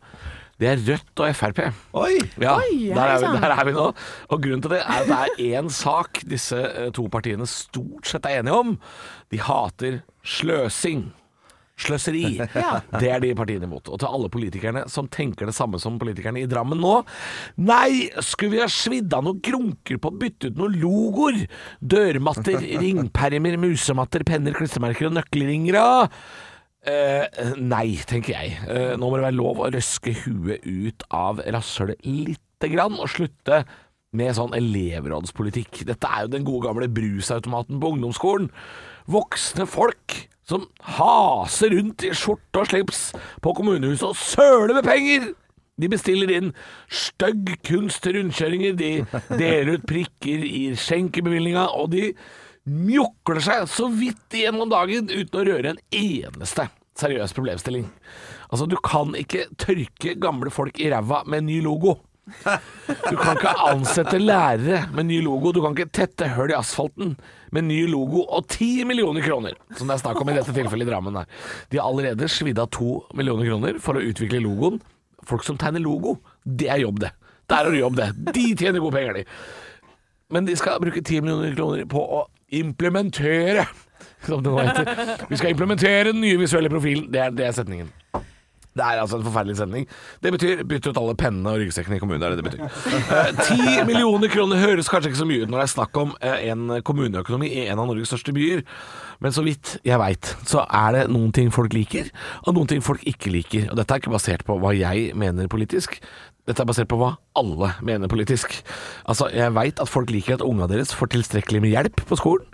Speaker 6: det er Rødt og Frp.
Speaker 4: Oi!
Speaker 6: Ja,
Speaker 5: Oi,
Speaker 6: der, er vi,
Speaker 5: heisann.
Speaker 6: der er vi nå. Og grunnen til det er at det er én sak disse eh, to partiene stort sett er enige om. De hater sløsing. Sløseri. Det er de partiene imot. Og til alle politikerne som tenker det samme som politikerne i Drammen nå. Nei, skulle vi ha svidd av noen grunker på å bytte ut noen logoer? Dørmatter, ringpermer, musematter, penner, klistremerker og nøkkelringere. Eh, nei, tenker jeg. Eh, nå må det være lov å røske huet ut av rasshølet lite grann, og slutte med sånn elevrådspolitikk. Dette er jo den gode gamle brusautomaten på ungdomsskolen. Voksne folk som haser rundt i skjorte og slips på kommunehuset og søler med penger! De bestiller inn stygg kunst til rundkjøringer, de deler ut prikker i skjenkebevilgninga, og de mjukler seg så vidt igjennom dagen uten å røre en eneste seriøs problemstilling. Altså, du kan ikke tørke gamle folk i ræva med en ny logo. Du kan ikke ansette lærere med ny logo, du kan ikke tette høl i asfalten med ny logo og ti millioner kroner, som det er snakk om i dette tilfellet i Drammen. Her. De har allerede svidd av to millioner kroner for å utvikle logoen. Folk som tegner logo, det er jobb, det. Der har du jobb, det. De tjener gode penger, de. Men de skal bruke 10 millioner kroner på å implementere som det nå heter. Vi skal implementere den nye visuelle profilen. Det er, det er setningen. Det er altså en forferdelig sending. Det betyr bytte ut alle pennene og ryggsekkene i kommunen. Det er det det betyr. Eh, Ti millioner kroner høres kanskje ikke så mye ut når det er snakk om eh, en kommuneøkonomi i en av Norges største byer, men så vidt jeg veit, så er det noen ting folk liker, og noen ting folk ikke liker. Og dette er ikke basert på hva jeg mener politisk. Dette er basert på hva alle mener politisk. Altså, jeg veit at folk liker at unga deres får tilstrekkelig med hjelp på skolen.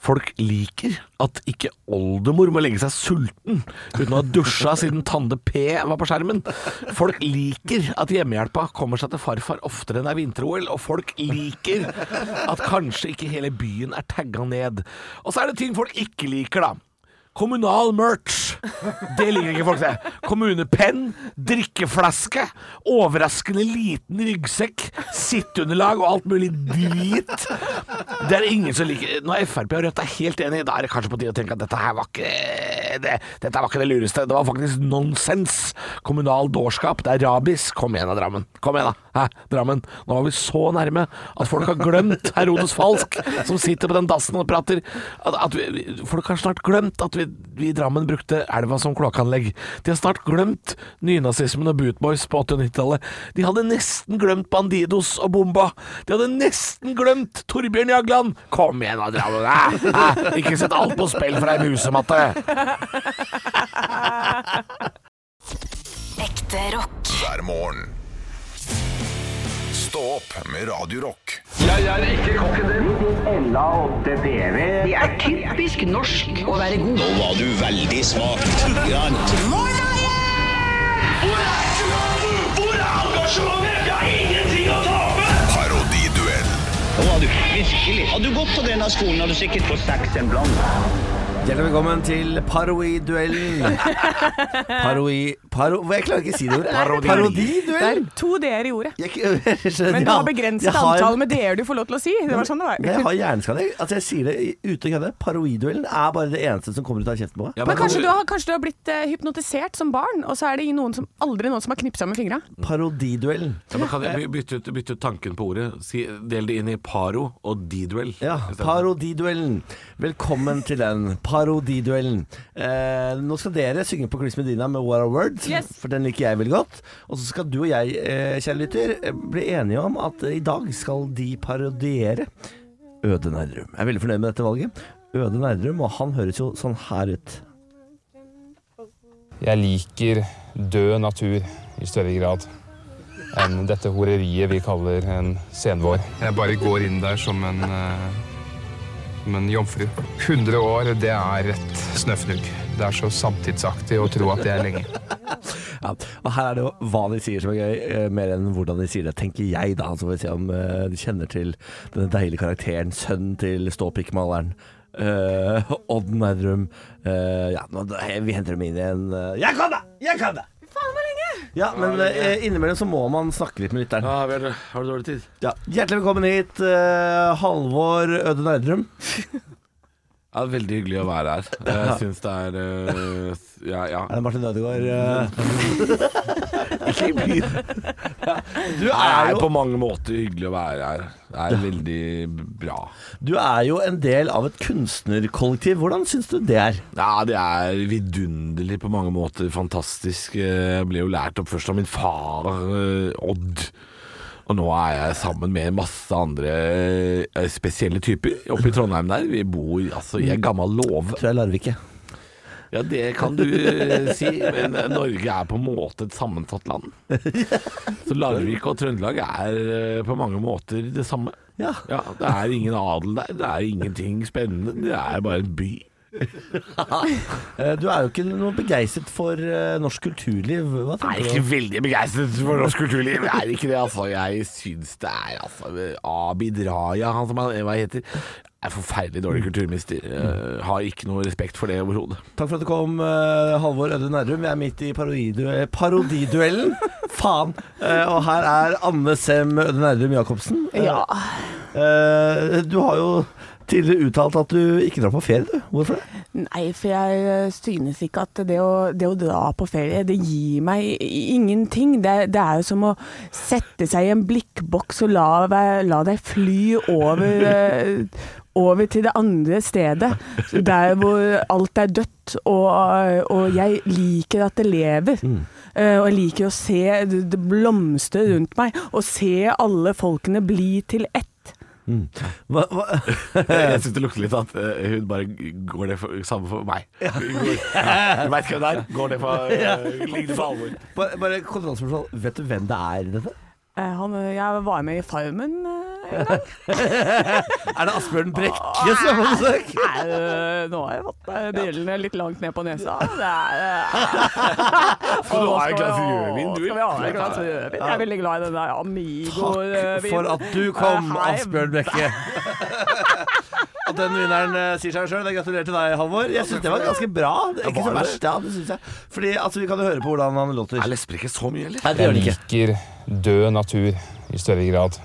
Speaker 6: Folk liker at ikke oldemor må legge seg sulten uten å ha dusja siden Tande P var på skjermen. Folk liker at hjemmehjelpa kommer seg til farfar oftere enn det er vinter-OL, og folk liker at kanskje ikke hele byen er tagga ned. Og så er det ting folk ikke liker, da. Kommunal merch. Det liker ikke folk, det. Kommunepenn, drikkeflaske, overraskende liten ryggsekk, sitteunderlag og alt mulig drit. Det er ingen som liker Når Frp og Rødt er helt enige, da er det kanskje på tide å tenke at dette her var ikke det, dette var ikke det lureste. Det var faktisk nonsens. Kommunal dårskap. Det er rabis. Kom igjen da, Drammen. Kom igjen, da. Hæ, Drammen. Nå var vi så nærme at folk har glemt Herodes Falsk, som sitter på den dassen og prater. At, at vi, vi- folk har snart glemt at vi, vi i Drammen brukte elva som kloakkanlegg. De har snart glemt nynazismen og Bootboys på 80- og 90-tallet. De hadde nesten glemt Bandidos og Bomba. De hadde nesten glemt Torbjørn Jagland. Kom igjen, da, Drammen. Hæ? Hæ? Ikke sett alt på spill for ei musematte.
Speaker 1: Ekte rock.
Speaker 2: hver morgen. Stå opp med Radio Rock.
Speaker 9: Hvor er engasjementet? Jeg har ingenting å tape!
Speaker 2: Parodiduell.
Speaker 9: Nå var du- Vi Virkelig. Hadde du gått på denne skolen, hadde du sikkert fått seks en blant.
Speaker 4: Hjertelig velkommen til Paroi-duellen. Paroi... Paro... Jeg klarer ikke å si det ordet.
Speaker 5: Det er
Speaker 4: Parodiduell.
Speaker 5: to d-er i ordet.
Speaker 4: Jeg k- jeg skjønner-
Speaker 5: Men du har begrenset
Speaker 4: Jeg har-
Speaker 5: antall med d-er du får lov til å si. Det var sånn det
Speaker 4: Men jeg
Speaker 5: var.
Speaker 4: har hjerneskade. Altså, jeg sier det i- uten å kødde. Paroi-duellen er bare det eneste som kommer ut av kjeften på meg.
Speaker 5: Men kanskje du har, kanskje du har blitt eh, hypnotisert som barn, og så er det ingen- noen som, aldri noen som har knipsa med fingra.
Speaker 4: Parodiduellen.
Speaker 6: Ja, men kan jeg by- bytte ut, bytte ut tanken på ordet? Si, del det inn i paro og diduell.
Speaker 4: Ja,
Speaker 6: i stedet.
Speaker 4: parodiduellen. Velkommen til den. Parodiduellen. Eh, nå skal dere synge på Chris Medina med What Are Words,
Speaker 5: Yes.
Speaker 4: for den liker jeg veldig godt. Og så skal du og jeg, eh, kjære lytter, eh, bli enige om at eh, i dag skal de parodiere Øde Nerdrum. Jeg er veldig fornøyd med dette valget. Øde Nerdrum, og han høres jo sånn her ut.
Speaker 10: Jeg liker død natur i større grad enn dette horeriet vi kaller en senvår. Jeg bare går inn der som en, eh, som en jomfru. 100 år, det er et snøfnugg. Det er så samtidsaktig å tro at det er lenge.
Speaker 4: Ja. Og her er det jo hva de sier som er gøy, eh, mer enn hvordan de sier det, tenker jeg da. Så får vi se om eh, de kjenner til denne deilige karakteren, sønnen til ståpikkmaleren. Uh, Odd Nerdrum. Eh, ja, nå, vi henter dem inn igjen. Eh, jeg kan det! Jeg kan det! Ja, men eh, innimellom så må man snakke litt med lytteren.
Speaker 6: Ja, vi har, har du dårlig tid?
Speaker 4: Ja. Hjertelig velkommen hit, eh, Halvor Øde Nerdrum.
Speaker 6: Ja, det er veldig hyggelig å være her. Jeg syns det er eh, s- Ja, ja.
Speaker 4: Er det Martin Ødegaard? eh?
Speaker 6: Mm.
Speaker 4: du, er
Speaker 6: Det er
Speaker 4: jo,
Speaker 6: på mange måter hyggelig å være her. Det er veldig bra.
Speaker 4: du er jo en del av et kunstnerkollektiv. Hvordan syns du det er?
Speaker 6: Ja, det er vidunderlig på mange måter. Fantastisk. Jeg ble jo lært opp først av min far, eh, Odd. Og nå er jeg sammen med masse andre eh, spesielle typer oppe i Trondheim der. Vi bor altså i en gammel låve.
Speaker 4: Tror jeg Larvik, jeg.
Speaker 6: Ja, det kan du eh, si, men eh, Norge er på en måte et sammensatt land. Så Larvik og Trøndelag er eh, på mange måter det samme.
Speaker 4: Ja.
Speaker 6: Det er ingen adel der, det er ingenting spennende, det er bare en by.
Speaker 4: Eh, Du er jo ikke noe begeistret for eh, norsk kulturliv. Hva
Speaker 6: Jeg
Speaker 4: tenker
Speaker 6: er
Speaker 4: du?
Speaker 6: ikke veldig begeistret for norsk kulturliv, jeg er ikke det, altså. Jeg syns det er altså Abid Raja, han som han hva heter, er forferdelig dårlig kulturminister. Eh, Har ikke noe respekt for det overhodet.
Speaker 4: Takk for at du kom, eh, Halvor Ødre Nærum. Vi er midt i parodidu eh, parodiduellen. Faen! Eh, Og her er Anne Sem Ødre Nærum Jacobsen. Eh,
Speaker 5: Ja.
Speaker 4: eh, Du har jo tidligere uttalt at du ikke drar på ferie, du. Hvorfor det?
Speaker 5: Nei, for jeg ø, synes ikke at det å, det å dra på ferie, det gir meg i- ingenting. Det, det er jo som å sette seg i en blikkboks og la, vær- la deg fly over, ø, over til det andre stedet. Der hvor alt er dødt, og, ø, og jeg liker at det lever. Eh, Og jeg liker å se det det blomstre rundt meg, og se alle folkene bli til ett.
Speaker 4: Hva, hva?
Speaker 6: Jeg syns det lukter litt at eh, hun bare går det for, samme for meg. Hun Går, ja, du veit hvem det er? Går det for uh, Ligger det for alvor?
Speaker 4: Bare, bare kontrollspørsmål. Vet du hvem det er i dette?
Speaker 5: Eh, Han, jeg var med i Farmen ø, en gang.
Speaker 4: Er det Asbjørn Brekke som er på besøk?
Speaker 5: Nei, øh, nå har jeg fått øh, brillene litt langt ned på nesa. Det er, eh,
Speaker 6: Skal du ha en glass rødvin, du?
Speaker 5: Skal vi ha en glass rødvin? Jeg er veldig glad i den der
Speaker 4: Takk
Speaker 5: Amigo-vin.
Speaker 4: for at du kom,
Speaker 5: Eh, Hei.
Speaker 4: Asbjørn Brekke. Eh, At den vinneren eh, sier seg sjøl. Gratulerer til deg, Halvor. Jeg syns det var ganske bra. Det er ikke så verst, ja, det syns jeg. Fordi altså, vi kan jo høre på hvordan han låter.
Speaker 6: Jeg lesper ikke så mye, eller?
Speaker 4: Nei, det
Speaker 10: Jeg
Speaker 4: gjør det ikke.
Speaker 10: liker død natur i større grad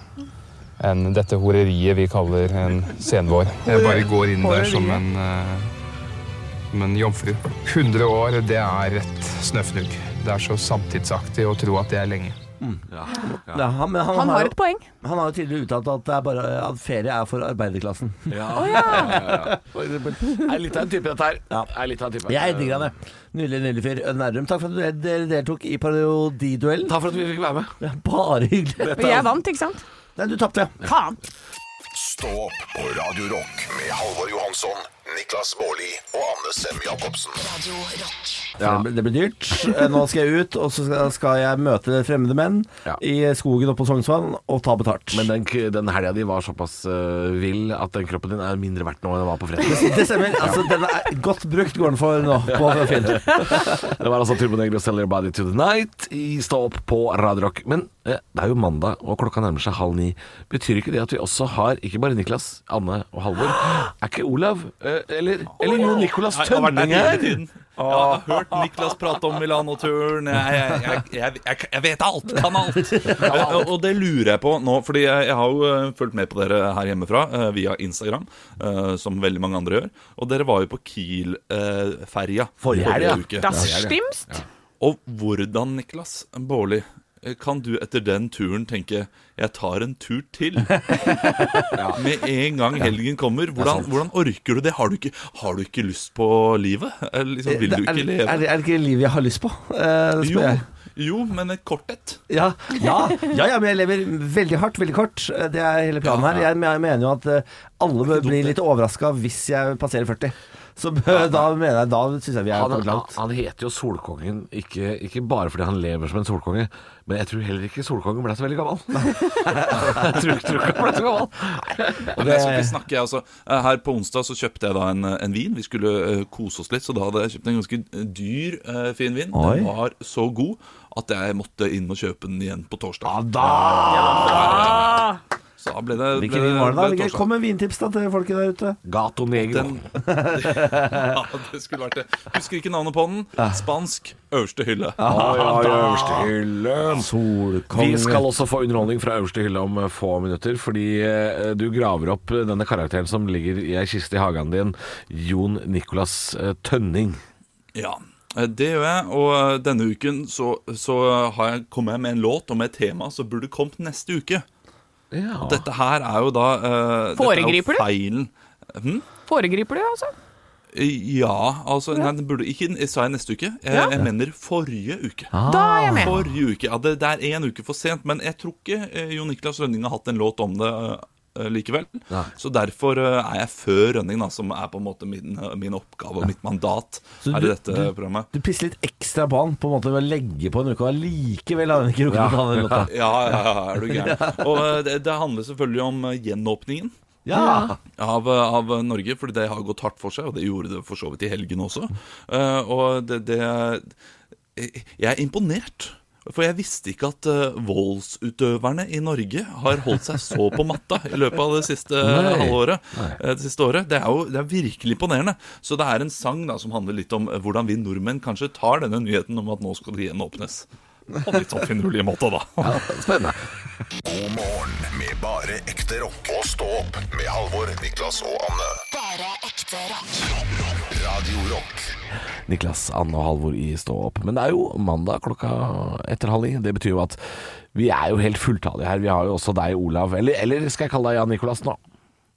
Speaker 10: enn dette horeriet vi kaller en senvår. Jeg bare går inn der som en, eh, som en jomfru. 100 år, det er et snøfnugg. Det er så samtidsaktig å tro at det er lenge.
Speaker 4: Ja, han, men han,
Speaker 5: Han
Speaker 4: har
Speaker 5: har
Speaker 4: jo,
Speaker 5: et poeng.
Speaker 4: han har jo tidligere uttalt at, det er bare, at ferie er for arbeiderklassen.
Speaker 6: Ja. Er litt av en type, dette her.
Speaker 4: Ja.
Speaker 6: Er litt av en type.
Speaker 4: Jeg digger han, jeg. Nydelig, nydelig fyr. Ødn Errum, takk for at dere deltok i parodiduellen.
Speaker 6: Takk for at vi fikk være med.
Speaker 4: Det er Bare hyggelig.
Speaker 5: Men jeg vant, ikke sant?
Speaker 4: Nei, du tapte.
Speaker 5: Faen!
Speaker 2: Stå opp på Radio Rock med Halvor Johansson, Niklas Baarli og Anne Sem Jacobsen.
Speaker 1: Radio Rock.
Speaker 4: For Det, blir, det blir dyrt. Eh, Nå skal jeg ut, og så skal, skal jeg møte fremmede menn
Speaker 6: Ja.
Speaker 4: i skogen oppe på Sognsvann og ta betalt.
Speaker 6: Men den, k- den helga di var såpass eh, vill at den kroppen din er mindre verdt nå enn den var på fredag.
Speaker 4: det stemmer. Altså, den er godt brukt går den for nå på Finn.
Speaker 6: Det var altså Turbo Negro Sell Your Body to the Night i Stå opp på Radio Rock. Men eh, det er jo mandag, og klokka nærmer seg halv ni. Betyr ikke det at vi også har ikke bare Niklas, Anne og Halvor? Er ikke Olav eh, eller, eller jo Nicolas
Speaker 11: Nei, det har vært
Speaker 6: Tønning
Speaker 11: hele
Speaker 6: her?
Speaker 11: tiden. Jeg har hørt Niklas prate om Milano-turen. Jeg, jeg, jeg, jeg, jeg, jeg vet alt, kan alt. Og- Og det lurer jeg på nå, fordi jeg, jeg har jo eh, fulgt med på dere her hjemmefra eh, via Instagram, eh, som veldig mange andre gjør. Og dere var jo på Kiel-ferja eh, forrige,
Speaker 5: helg, ja.
Speaker 11: uke.
Speaker 5: Das stimmt. Ja.
Speaker 11: Og hvordan, Niklas Baarli, eh, kan du etter den turen tenke 'jeg tar en tur til'? Med en gang helgen kommer. Hvordan, hvordan orker du det? Har du ikke, har du ikke lyst på livet? Eller Liksom, vil du
Speaker 4: er,
Speaker 11: ikke
Speaker 4: er,
Speaker 11: leve?
Speaker 4: er det ikke det livet jeg har lyst på? Eh, det spør
Speaker 11: jo,
Speaker 4: jeg.
Speaker 11: jo, men et kort et.
Speaker 4: Ja, ja, ja, ja, men jeg lever veldig hardt, veldig kort. Eh, Det er hele planen her. Jeg men- mener jo at eh, alle bør bli litt overraska hvis jeg passerer 40. Så bør- da mener jeg, da syns jeg vi er
Speaker 6: Han,
Speaker 4: kommet langt.
Speaker 6: han heter jo Solkongen, ikke, ikke bare fordi han lever som en solkonge, men jeg tror heller ikke Solkongen ble så veldig gammel. jeg tror, tror ikke han ble så gammel.
Speaker 11: Ja, men jeg skal ikke snakke, jeg altså. Eh, Her på onsdag så kjøpte jeg da en, eh, en vin. Vi skulle eh, kose oss litt, så da hadde jeg kjøpt en ganske dyr, eh, fin vin.
Speaker 4: Oi.
Speaker 11: Den var så god at jeg måtte inn og kjøpe den igjen på
Speaker 4: Ah.
Speaker 11: torsdag. Så da ble det,
Speaker 4: Hvilken
Speaker 11: ble det,
Speaker 4: vin var det da?
Speaker 11: ble det
Speaker 4: Hvilke-
Speaker 11: torsdag.
Speaker 4: Kom med vintips da til folket der ute.
Speaker 6: Gato Negro.
Speaker 11: Den, ja, det skulle vært det. Husker ikke navnet på den.
Speaker 4: Ah.
Speaker 11: Spansk øverste hylle.
Speaker 4: Solkonge.
Speaker 6: Vi skal også få underholdning fra øverste hylle om eh, få minutter, fordi eh, du graver opp eh, denne karakteren som ligger i ei kiste i hagen din, Jon Nicolas eh, Tønning.
Speaker 11: Ja, eh, det gjør jeg. Og eh, denne uken så, så har jeg, kom jeg med en låt om et tema som burde kommet neste uke. Og dette her er jo da eh,
Speaker 5: Foregriper du?
Speaker 11: dette er jo feilen. Hm?
Speaker 5: Foregriper du, altså?
Speaker 11: Ja, altså Nei, den burde ikke den sa jeg neste uke. Jeg, jeg mener forrige uke.
Speaker 4: Ah.
Speaker 5: Da er jeg med.
Speaker 11: Forrige uke, ja, det, det er én uke for sent, men jeg tror ikke eh, Jon Niklas Rønning har hatt en låt om det eh, likevel. Så derfor eh, er jeg før Rønning, da, som er på en måte min, eh, min oppgave og mitt mandat
Speaker 4: Så
Speaker 11: her
Speaker 4: du-
Speaker 11: i dette programmet.
Speaker 4: Du pisser litt ekstra på han på en måte ved å legge på en uke, og allikevel har han ikke rukket å ta den låta.
Speaker 11: Ja, ja, ja, er du gæren. Og eh, det, det handler selvfølgelig om eh, gjenåpningen.
Speaker 4: Ja.
Speaker 11: av, av Norge, fordi det har gått hardt for seg, og det gjorde det for så vidt i helgen også. Eh, og det, det Jeg er imponert. For jeg visste ikke at eh, voldsutøverne i Norge har holdt seg så på matta i løpet av det siste
Speaker 6: Nei.
Speaker 11: halvåret. eh, Det siste året. Det er jo det er virkelig imponerende. Så det er en sang da som handler litt om eh, hvordan vi nordmenn kanskje tar denne nyheten om at nå skal det gjenåpnes. På litt sånn finurlig måte, da.
Speaker 6: Spennende.
Speaker 2: God morgen med bare ekte rock. Og stå opp med Halvor, Niklas og Anne.
Speaker 1: Bare ekte rock.
Speaker 2: Radio Rock.
Speaker 6: Niklas, Anne og Halvor i Stå opp. Men det er jo mandag klokka etter halv ni. Det betyr jo at vi er jo helt fulltallige her. Vi har jo også deg, Olav. Eller, eller skal jeg kalle deg Jan Nicolas nå?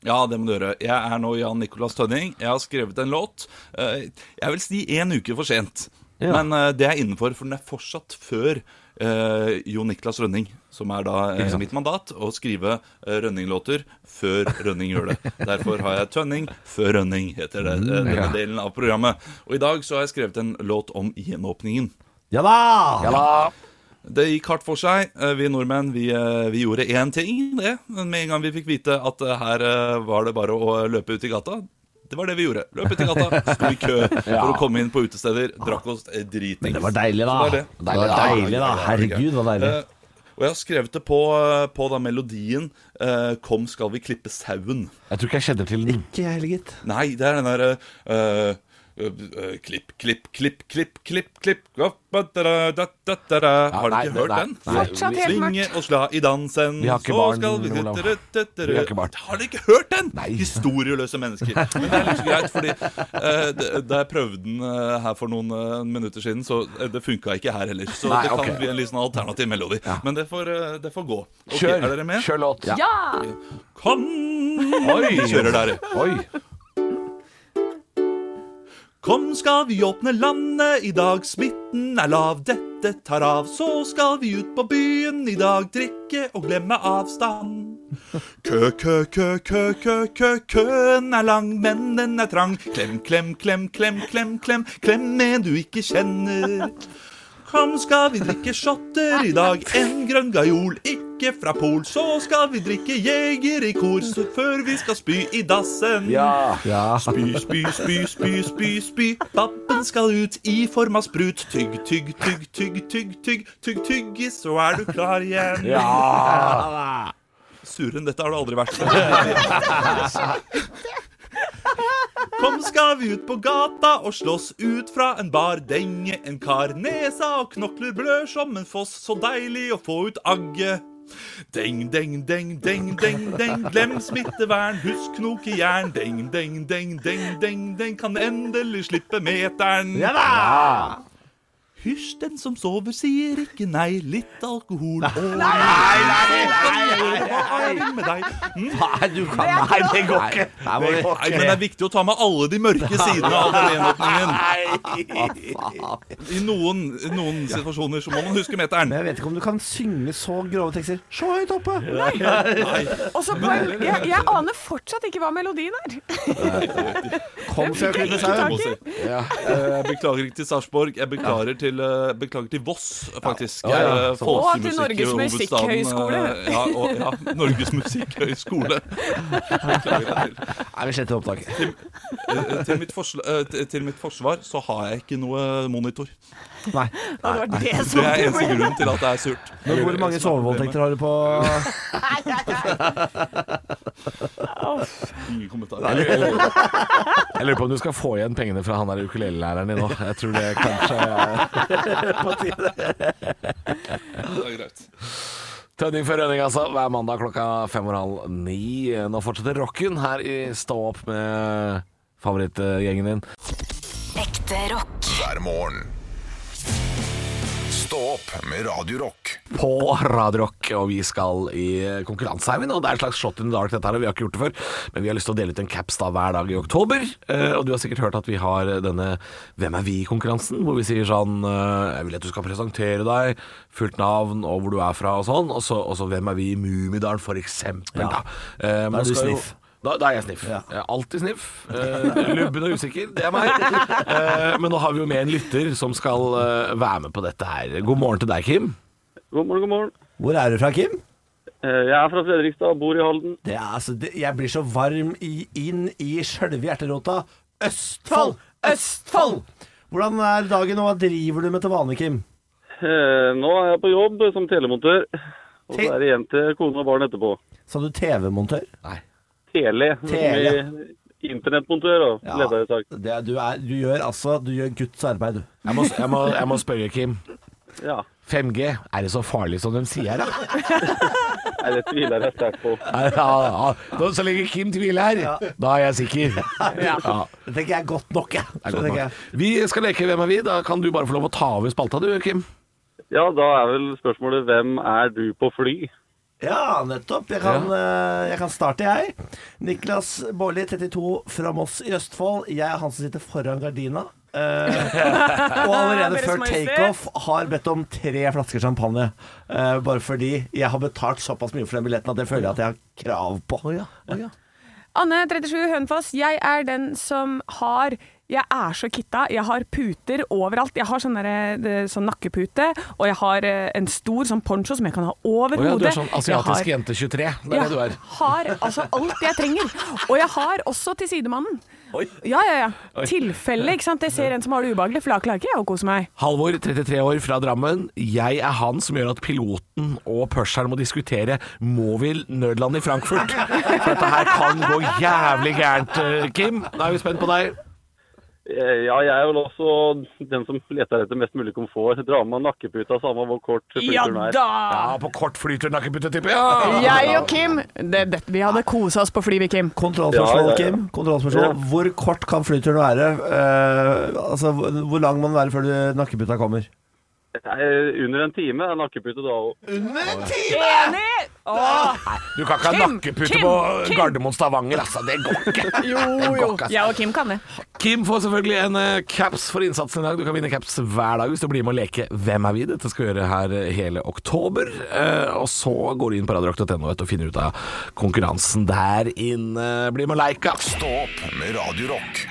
Speaker 11: Ja, det må du gjøre. Jeg er nå Jan Nicolas Tønning. Jeg har skrevet en låt. Eh, Jeg vil si én uke for sent. Men eh, det er innenfor, for den er fortsatt før eh, Jo Niklas Rønning. Som er da eh, mitt mandat, å skrive eh, Rønning-låter før Rønning gjør det. Derfor har jeg Tønning før Rønning, heter det, eh, denne delen av programmet. Og i dag så har jeg skrevet en låt om gjenåpningen.
Speaker 4: Ja da!
Speaker 11: Det gikk hardt for seg. Eh, Vi nordmenn vi, eh, vi gjorde én ting, det. Men Med en gang vi fikk vite at eh, her eh, var det bare å løpe ut i gata. Det var det vi gjorde. Løp ut i gata, sto i kø for å komme inn på utesteder, drakk oss eh, dritings.
Speaker 4: Det var deilig, da.
Speaker 11: Så
Speaker 4: Det
Speaker 11: det er det.
Speaker 4: var deilig, da. Herregud, det var deilig.
Speaker 11: Eh, Og jeg har skrevet det på, eh, på da melodien eh, 'Kom, skal vi klippe sauen'.
Speaker 6: Jeg tror ikke jeg kjenner til den.
Speaker 4: Ikke jeg heller, gitt.
Speaker 11: Nei, det er den derre Klipp, klipp, klipp, klipp, klipp, klipp opp, da, da, da, da, da. Har du
Speaker 6: nei,
Speaker 11: ikke
Speaker 6: det-
Speaker 11: hørt
Speaker 6: nei,
Speaker 11: den?
Speaker 6: nei.
Speaker 5: Fortsatt helt
Speaker 11: Svinge og sla i dansen,
Speaker 6: Vi har ikke
Speaker 11: så
Speaker 6: barn,
Speaker 11: skal vi
Speaker 6: Olav.
Speaker 11: Vi
Speaker 6: Vi har ikke barn.
Speaker 11: Har dere ikke hørt den? Historieløse mennesker. Men det er litt greit, fordi eh, d- da jeg prøvde den eh, her for noen eh, minutter siden, så eh, det funka ikke her heller. Så
Speaker 6: Nei,
Speaker 11: det kan
Speaker 6: ok.
Speaker 11: bli en litt sånn alternativ melodi. Men det får, eh, det får gå. Ok,
Speaker 6: Kjør,
Speaker 11: Er dere med?
Speaker 6: kjør låt.
Speaker 5: Ja!
Speaker 11: Kom! Oi, kjører der.
Speaker 6: Oi.
Speaker 11: Kom, skal vi åpne landet i dag. Smitten er lav, dette tar av. Så skal vi ut på byen i dag, drikke og glemme avstand. Kø, kø, kø, kø, kø, kø, køen er lang, men den er trang. Klem, klem, klem, klem, klem, klem, klem en du ikke kjenner. Kom, skal vi drikke shotter i dag. En grønn gajol, ikke ikke fra Pol, så skal vi drikke Jeger i kor så før vi skal spy i dassen.
Speaker 3: Ja.
Speaker 11: Spy, spy, spy, spy, spy, spy. Pappen skal ut i form av sprut. Tygg, tygg, tygg, tygg, tygg, tygg, tygg, tygge, så er du klar igjen.
Speaker 3: Ja.
Speaker 11: Surere enn dette har du aldri vært. Kom skal vi ut på gata og slåss ut fra en bar. Denge en kar, nesa og knokler blør som en foss. Så deilig å få ut agget. Deng, deng, deng, deng, deng, deng. Glem smittevern, husk knokejern. Deng, deng, deng, deng, deng, deng. Kan endelig slippe meteren.
Speaker 3: Ja da!
Speaker 11: Hysj, den som sover sier ikke nei. Litt alkohol og Nei,
Speaker 3: Nei, du kan Nei, det går ikke. Nei,
Speaker 11: Hm? Nei, men det er viktig å ta med alle de mørke sidene av den gjenåpningen. I noen, i noen situasjoner så må man huske meteren.
Speaker 4: Men jeg vet ikke om du kan synge så grove tekster. Så høyt oppe!
Speaker 5: Nei. Og så på en, jeg, jeg aner fortsatt ikke hva melodien er.
Speaker 4: Kom fra
Speaker 5: fikk ikke tak i.
Speaker 11: Ja. Eh, Jeg beklager ikke til Sarpsborg. Jeg beklager til, eh, beklager til Voss, faktisk.
Speaker 3: Ja, ja.
Speaker 11: Eh,
Speaker 4: Sånn.
Speaker 5: Og til
Speaker 11: folkemusikk-
Speaker 5: Norges
Speaker 11: hovedstaden, eh,
Speaker 5: Musikkhøgskole.
Speaker 11: Ja, og, ja, Norges Musikkhøgskole. Beklager jeg til.
Speaker 4: Nei, vi sletter opptaket.
Speaker 11: Eh, Til mitt, forsla- eh, til- til mitt forsvar så har jeg ikke noe monitor.
Speaker 4: Nei.
Speaker 5: Det hadde vært det
Speaker 11: Det
Speaker 5: som
Speaker 11: er eneste grunnen til at det er surt.
Speaker 4: Men hvor mange sovevoldtekter har du på
Speaker 11: Ingen kommentarer.
Speaker 6: Jeg lurer på om du skal få igjen pengene fra han der ukulelelæreren din nå. Jeg tror det kanskje
Speaker 11: Det er greit.
Speaker 6: Tønning før rønning, altså. Hver mandag klokka fem og halv ni. Nå fortsetter rocken her i Stå opp med favorittgjengen din.
Speaker 1: Ekte rock.
Speaker 2: hver morgen. Stå opp med Radio Rock.
Speaker 6: på Radio Rock, og vi skal i konkurransehaugen. Og det er et slags shot in the dark, dette her, og vi har ikke gjort det før. Men vi har lyst til å dele ut en caps da hver dag i oktober. Eh, Og du har sikkert hørt at vi har denne Hvem er vi-konkurransen, hvor vi sier sånn eh, Jeg vil at du skal presentere deg, fullt navn og hvor du er fra og sånn. Og så, og så Hvem er vi i Mummidalen, for eksempel, da. Eh, man
Speaker 4: du
Speaker 6: skal jo-
Speaker 4: sniff.
Speaker 6: Da, da er jeg sniff. Jeg er Alltid sniff. Eh, lubben og usikker, det er meg. Eh, men nå har vi jo med en lytter som skal eh, være med på dette her. God morgen til deg, Kim.
Speaker 12: God morgen, god morgen.
Speaker 4: Hvor er du fra, Kim?
Speaker 12: Eh, Jeg er fra Fredrikstad, bor i Halden.
Speaker 4: Det er, altså, det, jeg blir så varm i, inn i sjølve hjerterota. Østfold! Østfold! Hvordan er dagen, og hva driver du med til vanlig, Kim?
Speaker 12: Eh, Nå er jeg på jobb som telemontør, og så er det hjem til kone og barn etterpå.
Speaker 4: Sa du TV-montør? Nei.
Speaker 12: Tele.
Speaker 4: Tele.
Speaker 12: som i Internettmontør, da.
Speaker 4: Ja.
Speaker 12: Leder jeg sagt.
Speaker 4: Det, er- du, er, du gjør altså Du gjør Guds arbeid, du.
Speaker 6: Jeg må, jeg, må, jeg må spørre, Kim.
Speaker 12: Ja.
Speaker 6: 5G, er det så farlig som de sier, da?
Speaker 12: Nei, det tviler jeg sterkt på.
Speaker 6: Ja, ja, ja. Så lenge Kim tviler her, da er jeg sikker. Ja.
Speaker 4: Det tenker jeg er godt nok, jeg.
Speaker 6: det er
Speaker 4: Så
Speaker 6: godt
Speaker 4: tenker
Speaker 6: nok.
Speaker 4: jeg.
Speaker 6: Vi skal leke Hvem er vi? Da kan du bare få lov å ta over spalta, du, Kim.
Speaker 12: Ja, da er vel spørsmålet hvem er du på fly?
Speaker 4: Ja, nettopp. Jeg kan, eh, jeg kan starte, jeg. Niklas Baarli, 32, fra Moss i Østfold. Jeg er han som sitter foran gardina. Eh, og allerede
Speaker 5: Deres
Speaker 4: før
Speaker 5: Majestet.
Speaker 4: takeoff har bedt om tre flasker champagne. Eh, bare fordi jeg har betalt såpass mye for den billetten at jeg føler at jeg har krav på.
Speaker 5: Anne 37 Hønfoss, jeg er den som har jeg er så kitta. Jeg har puter overalt. Jeg har sånn derre- det- sånn nakkepute, og jeg har eh, en stor sånn poncho som jeg kan ha over
Speaker 6: Å ja, du
Speaker 5: hodet.
Speaker 6: er sånn
Speaker 5: Jeg har-
Speaker 6: asiatisk jente 23. Det er det du
Speaker 5: Jeg
Speaker 6: er.
Speaker 5: har altså alt jeg trenger. Og jeg har også til sidemannen. Ja, ja, ja. Tilfelle, ikke sant. Jeg ser en som har det ubehagelig, for da klarer ikke jeg å kose meg.
Speaker 6: Halvor, 33 år, fra Drammen. Jeg er han som gjør at piloten og pusheren må diskutere Må vi nødland i Frankfurt? For dette her kan gå jævlig gærent, eh, Kim. Da er vi spent på deg.
Speaker 12: Eh, Ja, jeg er vel også den som leter etter mest mulig komfort. Dra med nakkeputa, samme hvor kort flyturen er.
Speaker 6: Ja, på kort flytur, nakkeputte, tipper jeg.
Speaker 5: Jeg og Kim, det, det, vi hadde kosa oss på flyet, Kim.
Speaker 4: Kontrollspørsmål,
Speaker 12: Ja, ja, ja.
Speaker 4: Kim. Kontrollspørsmål. Hvor kort kan flyturen være? Eh, altså, hvor lang må den være før du- nakkeputa kommer?
Speaker 12: Eh, Under en time er nakkepute da òg.
Speaker 5: Enig! Åh,
Speaker 6: Du kan ikke ha
Speaker 5: Kim,
Speaker 6: nakkepute
Speaker 5: Kim,
Speaker 6: på
Speaker 5: Kim.
Speaker 6: Gardermoen Stavanger, altså. Det går ikke.
Speaker 5: jo, jo.
Speaker 6: altså.
Speaker 5: Jeg og Kim kan det.
Speaker 6: Kim får selvfølgelig en eh, caps for innsatsen i dag. Du kan vinne caps hver dag hvis du blir med å leke Hvem er vi? Dette skal vi gjøre her eh, hele oktober. Eh, og så går du inn på radiorock.no og finner ut av konkurransen der inne. Bli med og leika.
Speaker 2: Stå opp med Radio Rock.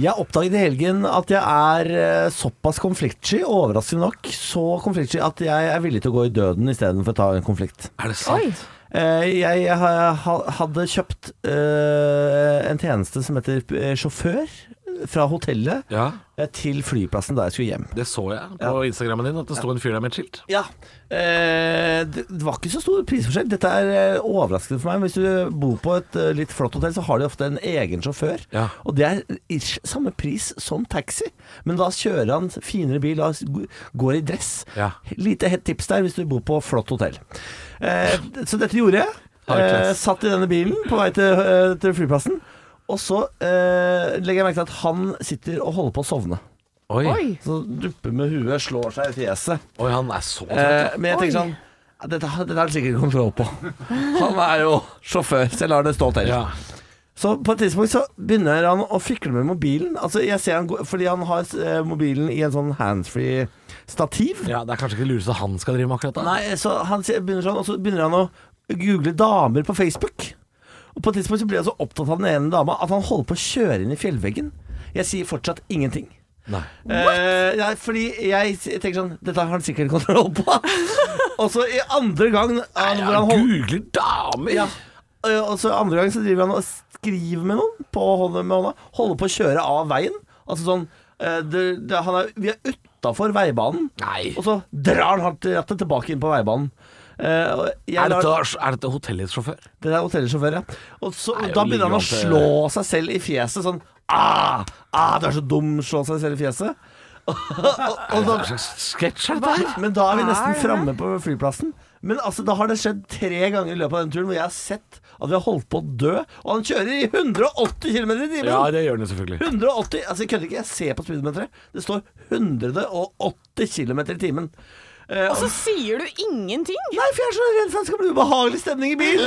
Speaker 4: Jeg oppdaget i helgen at jeg er eh, såpass konfliktsky, overraskende nok, så konfliktsky at jeg er villig til å gå i døden istedenfor å ta en konflikt.
Speaker 6: Er det
Speaker 4: sant? Jeg ha- ha- hadde kjøpt eh, en tjeneste som heter eh, sjåfør, fra hotellet
Speaker 6: Ja.
Speaker 4: eh, til flyplassen da jeg skulle hjem.
Speaker 6: Det så jeg på Instagrammen din, at det sto en fyr der med et skilt.
Speaker 4: Ja. Eh, det, det var ikke så stor prisforskjell. Dette er eh, overraskende for meg. Hvis du bor på et eh, litt flott hotell, så har de ofte en egen sjåfør. Og det er ish samme pris som taxi, men da kjører han finere bil og g- går i dress.
Speaker 6: Ja.
Speaker 4: Lite hett tips der hvis du bor på flott hotell. Eh, d- så dette gjorde jeg.
Speaker 6: High class.
Speaker 4: Eh, satt i denne bilen på vei til, eh, til flyplassen. Og så eh, legger jeg merke til at han sitter og holder på å sovne.
Speaker 6: Oi. Oi.
Speaker 4: Så dupper med huet, slår seg i fjeset.
Speaker 6: Oi, han er så
Speaker 4: Eh, men jeg tenker
Speaker 6: Oi.
Speaker 4: sånn ja, dette, har- dette har han sikkert kontroll på. Han er jo sjåfør, så jeg lar det stå til. Så på et tidspunkt så begynner han å fikle med mobilen. Altså jeg ser han gå, Fordi han har eh, mobilen i en sånn handsfree-stativ.
Speaker 6: Ja, Det er kanskje ikke det lureste han skal drive med akkurat da.
Speaker 4: Nei, så han sier- begynner sånn, og så begynner han å google damer på Facebook. Og på et tidspunkt så blir han så opptatt av den ene dama at han holder på å kjøre inn i fjellveggen. Jeg sier fortsatt ingenting.
Speaker 6: Nei.
Speaker 4: Eh, ja, fordi jeg s- tenker sånn Dette har han sikkert kontroll på. og så i andre gang han, hvor han hold-
Speaker 6: googler damer!
Speaker 4: Ja. Eh, Og så andre gang så driver han og skriver med noen på hånda, med hånda. Holder på å kjøre av veien. Altså sånn eh, det, det, han er, Vi er utafor veibanen. Og så drar han hardt i rattet tilbake inn på veibanen. Eh, og jeg
Speaker 6: Er
Speaker 4: lar-
Speaker 6: dette, er dette hotellets sjåfør?
Speaker 4: det er hotellsjåfør, ja. Og så,
Speaker 6: Nei,
Speaker 4: da
Speaker 6: og
Speaker 4: begynner han å
Speaker 6: ligger han til-
Speaker 4: slå seg selv i fjeset. Sånn ah, ah, 'Du er så dum', slå seg selv i fjeset. Og- og da- Men da er vi nesten framme på flyplassen. Men altså, da har det skjedd tre ganger i løpet av den turen hvor jeg har sett at vi har holdt på å dø, og han kjører i 180 km i timen!
Speaker 6: Ja, det gjør den jo selvfølgelig.
Speaker 4: 180, altså jeg kødder ikke, jeg ser på speedometeret. Det står 180 km i timen. Eh,
Speaker 5: Og så sier du ingenting!
Speaker 4: Nei, for jeg er så redd for at det skal bli ubehagelig stemning i bilen.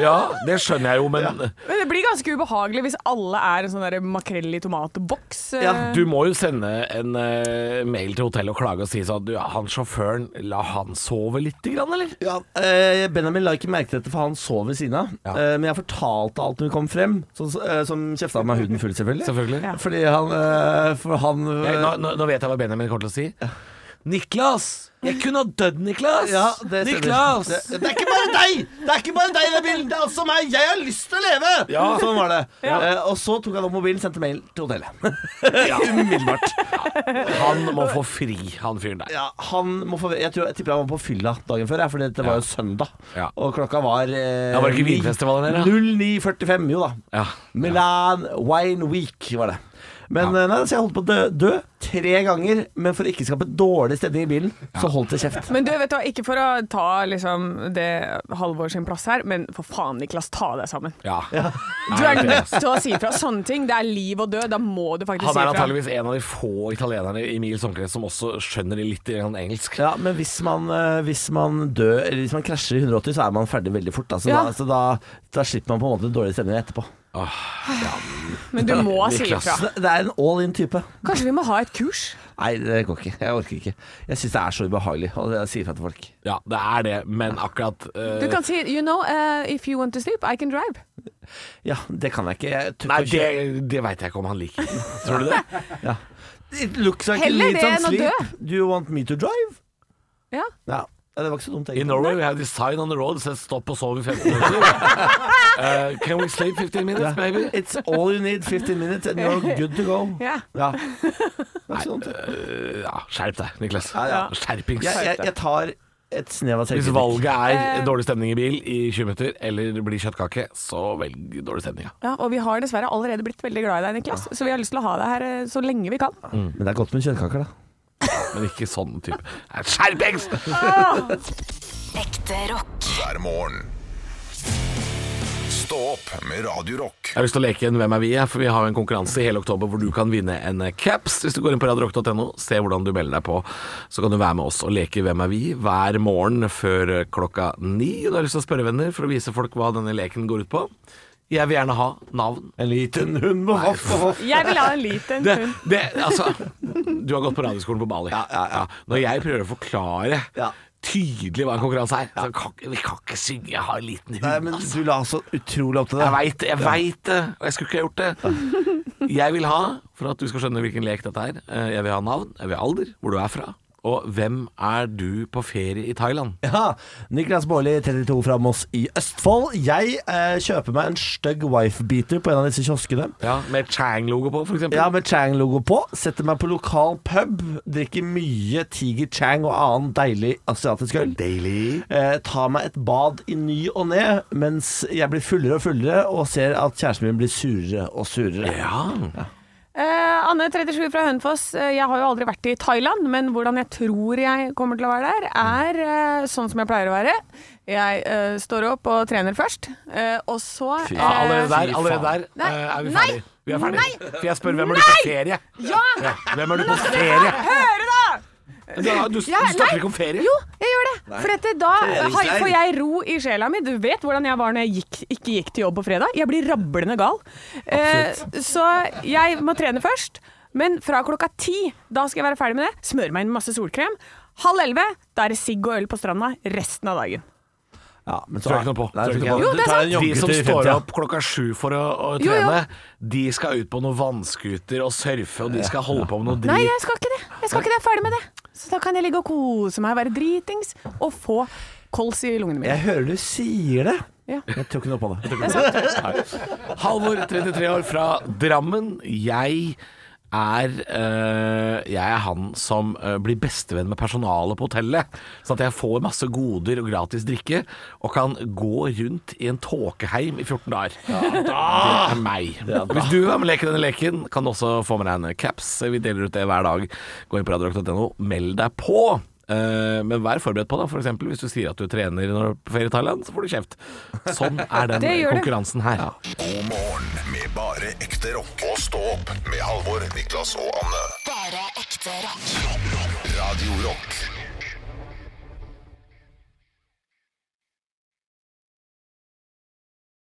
Speaker 6: Ja, det skjønner jeg jo, men
Speaker 5: Men det blir ganske ubehagelig hvis alle er en sånn der makrell i tomatboks. eh.
Speaker 6: Du må jo sende en eh, mail til hotellet og klage og si sånn du, Han sjåføren, la han sove lite grann, eller?
Speaker 4: Ja, eh, Benjamin la ikke merke til dette, for han sov ved siden av. Eh, men jeg fortalte alt når vi kom frem, så, eh, som kjefta meg huden full, selvfølgelig.
Speaker 6: Selvfølgelig.
Speaker 4: Fordi han, eh, for han eh,
Speaker 6: Jeg, nå, nå, nå vet jeg hva Benjamin kommer til å si. Niklas! Jeg kunne ha dødd, Niklas!
Speaker 4: Ja, det stemmer.
Speaker 6: Niklas!
Speaker 4: Det, det er ikke bare deg! Det er ikke bare deg i det bildet, det er også meg! Jeg har lyst til å leve!
Speaker 6: Ja.
Speaker 4: Sånn var det.
Speaker 6: Ja.
Speaker 4: Eh, og så tok han opp mobilen, sendte mail til hotellet.
Speaker 6: Han må få fri, han fyren der.
Speaker 4: Ja, han må få, jeg, tror, jeg tipper han var på fylla dagen før, for det var jo søndag. Og klokka var eh,
Speaker 6: Ja, var det ikke
Speaker 4: ni-
Speaker 6: vinfestivalen der, da?
Speaker 4: 09.45, jo da.
Speaker 6: Ja.
Speaker 4: Milan Wine Week var det. Men eh, nei, så jeg holdt på å dø, dø tre ganger, men for å ikke skape dårlig stemning i bilen, så holdt jeg kjeft.
Speaker 5: Men du, vet du, hva, ikke for å ta liksom, det Halvor sin plass her, men for faen, Niklas, ta deg sammen.
Speaker 6: Ja.
Speaker 5: Du er nødt til å si ifra. Sånne ting, det er liv og død. Da må du faktisk
Speaker 6: Han
Speaker 5: si
Speaker 6: er
Speaker 5: ifra.
Speaker 6: antageligvis en av de få italienerne i Mils omkrets som også skjønner litt grann engelsk.
Speaker 4: Ja, men hvis man, eh, hvis man dør Eller hvis man krasjer i 180, så er man ferdig veldig fort. Altså,
Speaker 5: Ja.
Speaker 4: da, så da, da slipper man på en måte dårlig stemning etterpå.
Speaker 5: Men du må si ifra.
Speaker 4: Det- Det er en all in-type.
Speaker 5: Kanskje vi må ha et kurs?
Speaker 4: Nei, det går ikke. Jeg orker ikke. Jeg syns det er så ubehagelig, og jeg sier fra til folk.
Speaker 6: Ja, det er det, men akkurat eh,
Speaker 5: Du kan si You know, eh, if you want to sleep, I can drive.
Speaker 4: Ja, det kan jeg ikke. Jeg tør
Speaker 6: Nei,
Speaker 4: ikke
Speaker 6: det,
Speaker 4: å
Speaker 6: det veit jeg ikke om han liker. Tror du det?
Speaker 4: kjøre. ja. It looks like
Speaker 5: Heller
Speaker 4: you need
Speaker 5: det
Speaker 4: some
Speaker 5: enn å
Speaker 4: sleep.
Speaker 5: dø.
Speaker 4: Do you want me to drive?
Speaker 5: Ja.
Speaker 4: Ja, Ja, det var ikke så dumt, egentlig.
Speaker 6: In Norway we have this sign on the road that says stop og sov i 15 minutter. Eh, can we sleep 15 minutes,
Speaker 4: Ja.
Speaker 6: maybe?
Speaker 4: It's all you need, 15 minutes, and you're good to go.
Speaker 5: Ja.
Speaker 4: Ja. Det var ikke så dumt, det.
Speaker 6: Eh, ja, skjerp deg, Niklas.
Speaker 4: Ja, ja.
Speaker 6: Skjerpings.
Speaker 4: Jeg, jeg, Eh. jeg tar et snev av
Speaker 6: Hvis
Speaker 4: selvkritikk.
Speaker 6: valget er dårlig stemning i bil i 20 minutter, eller det blir kjøttkake, så velg dårlig stemning. ja.
Speaker 5: Ja, og vi har dessverre allerede blitt veldig glad i deg, Niklas, så vi har lyst til å ha deg her eh, så lenge vi kan.
Speaker 4: Men det er godt med kjøttkaker, da.
Speaker 6: Men ikke sånn type. Skjerpings!
Speaker 1: Ekte rock.
Speaker 2: hver morgen. Stå opp med Radio Rock.
Speaker 6: Jeg har lyst til å leke en Hvem er vi? jeg, for vi har jo en konkurranse i hele oktober hvor du kan vinne en eh, caps. Hvis du går inn på radiorock.no, se hvordan du melder deg på, så kan du være med oss og leke Hvem er vi? hver morgen før eh, klokka ni. Og Du har lyst til å spørre venner for å vise folk hva denne leken går ut på. Jeg vil gjerne ha navn.
Speaker 4: En liten hund med hoff.
Speaker 5: Jeg vil ha en liten
Speaker 6: Det,
Speaker 5: hund.
Speaker 6: det, altså, du har gått på radioskolen på Bali. Ja, Når jeg prøver å forklare tydelig hva en konkurranse er, så kan, ikke- vi kan ikke synge 'Jeg har en liten hund'.
Speaker 4: Nei, men
Speaker 6: altså.
Speaker 4: du la så utrolig opp til det.
Speaker 6: Jeg veit det, jeg vet det, og jeg skulle ikke ha gjort det. Jeg vil ha, for at du skal skjønne hvilken lek dette er, eh, jeg vil ha navn, jeg vil ha alder, hvor du er fra, og hvem er du på ferie i Thailand?
Speaker 4: Ja, Niklas Baarli, 32 fra Moss i Østfold. Jeg eh, kjøper meg en stygg wifebeater på en av disse kioskene.
Speaker 6: Ja, Med Chang-logo på, f.eks.?
Speaker 4: Ja, med Chang-logo på. Setter meg på lokal pub. Drikker mye Tiger Chang og annen deilig asiatisk øl.
Speaker 6: Deilig.
Speaker 4: Eh, tar meg et bad i ny og ne, mens jeg blir fullere og fullere og ser at kjæresten min blir surere og surere.
Speaker 6: Ja.
Speaker 5: Eh, Anne 37 fra Hønefoss, eh, jeg har jo aldri vært i Thailand, men hvordan jeg tror jeg kommer til å være der, er eh, sånn som jeg pleier å være. Jeg eh, står opp og trener først, eh, og så
Speaker 6: Fy
Speaker 5: eh,
Speaker 6: faen. Allerede der, allerede der
Speaker 5: Nei,
Speaker 6: eh, er vi
Speaker 5: nei,
Speaker 6: ferdige. Vi er ferdige.
Speaker 5: nei,
Speaker 6: For jeg spør hvem er du på
Speaker 5: nei.
Speaker 6: ferie?
Speaker 5: Ja!
Speaker 6: Ja, hvem er du
Speaker 5: Nå
Speaker 6: på
Speaker 5: skal dere
Speaker 6: ferie?
Speaker 5: få høre, da!
Speaker 6: Ja, du, du
Speaker 5: Ja, nei.
Speaker 6: snakker ikke om ferie?
Speaker 5: Jo, jeg gjør det.
Speaker 6: Nei.
Speaker 5: For dette, da har,
Speaker 6: Feringsleir.
Speaker 5: får jeg ro i sjela mi. Du vet hvordan jeg var når jeg gikk, ikke gikk til jobb på fredag. Jeg blir rablende gal. Eh, så jeg må trene først. Men fra klokka ti, da skal jeg være ferdig med det. Smøre meg inn masse solkrem. Halv elleve, da er det sigg og øl på stranda resten av dagen.
Speaker 4: Ja, men
Speaker 6: Tror jeg ikke noe på.
Speaker 4: Nei,
Speaker 6: Tror jeg ikke
Speaker 4: tror jeg
Speaker 6: noe på.
Speaker 5: Jo, det er
Speaker 4: Du tar en
Speaker 5: sant.
Speaker 6: De
Speaker 4: joggetur
Speaker 6: som
Speaker 4: i
Speaker 6: står
Speaker 4: 50.
Speaker 6: opp klokka sju for å, å
Speaker 5: Jo, jo.
Speaker 6: trene, de skal ut på noen vannskuter og surfe, og de skal holde på med noe
Speaker 5: Nei,
Speaker 6: drit.
Speaker 5: jeg skal ikke det. Jeg skal ikke det. Jeg er ferdig med det. Så da kan jeg ligge og kose meg, være dritings og få kols i lungene mine.
Speaker 4: Jeg hører du sier det.
Speaker 5: Ja.
Speaker 4: Jeg tror ikke noe på det.
Speaker 6: Nei. Halvor, 33 år, fra Drammen. Jeg er, eh, jeg er han som eh, blir bestevenn med personalet på hotellet. Sånn at jeg får masse goder og gratis drikke, og kan gå rundt i en tåkeheim i 14 dager. Det er meg. Hvis du vil være med og leke denne leken, kan du også få med deg en caps. Vi deler ut det hver dag. Gå inn på radiorock.no, meld deg på. Eh, Men vær forberedt på det. For eksempel, hvis du sier at du trener når du er på ferie i Thailand, så får du kjeft. Sånn er den
Speaker 5: Det gjør det.
Speaker 6: konkurransen her.
Speaker 2: God morgen med bare ekte rock. Og stå opp med Halvor, Niklas og Anne.
Speaker 1: Bare ekte rock.
Speaker 2: Radio Rock.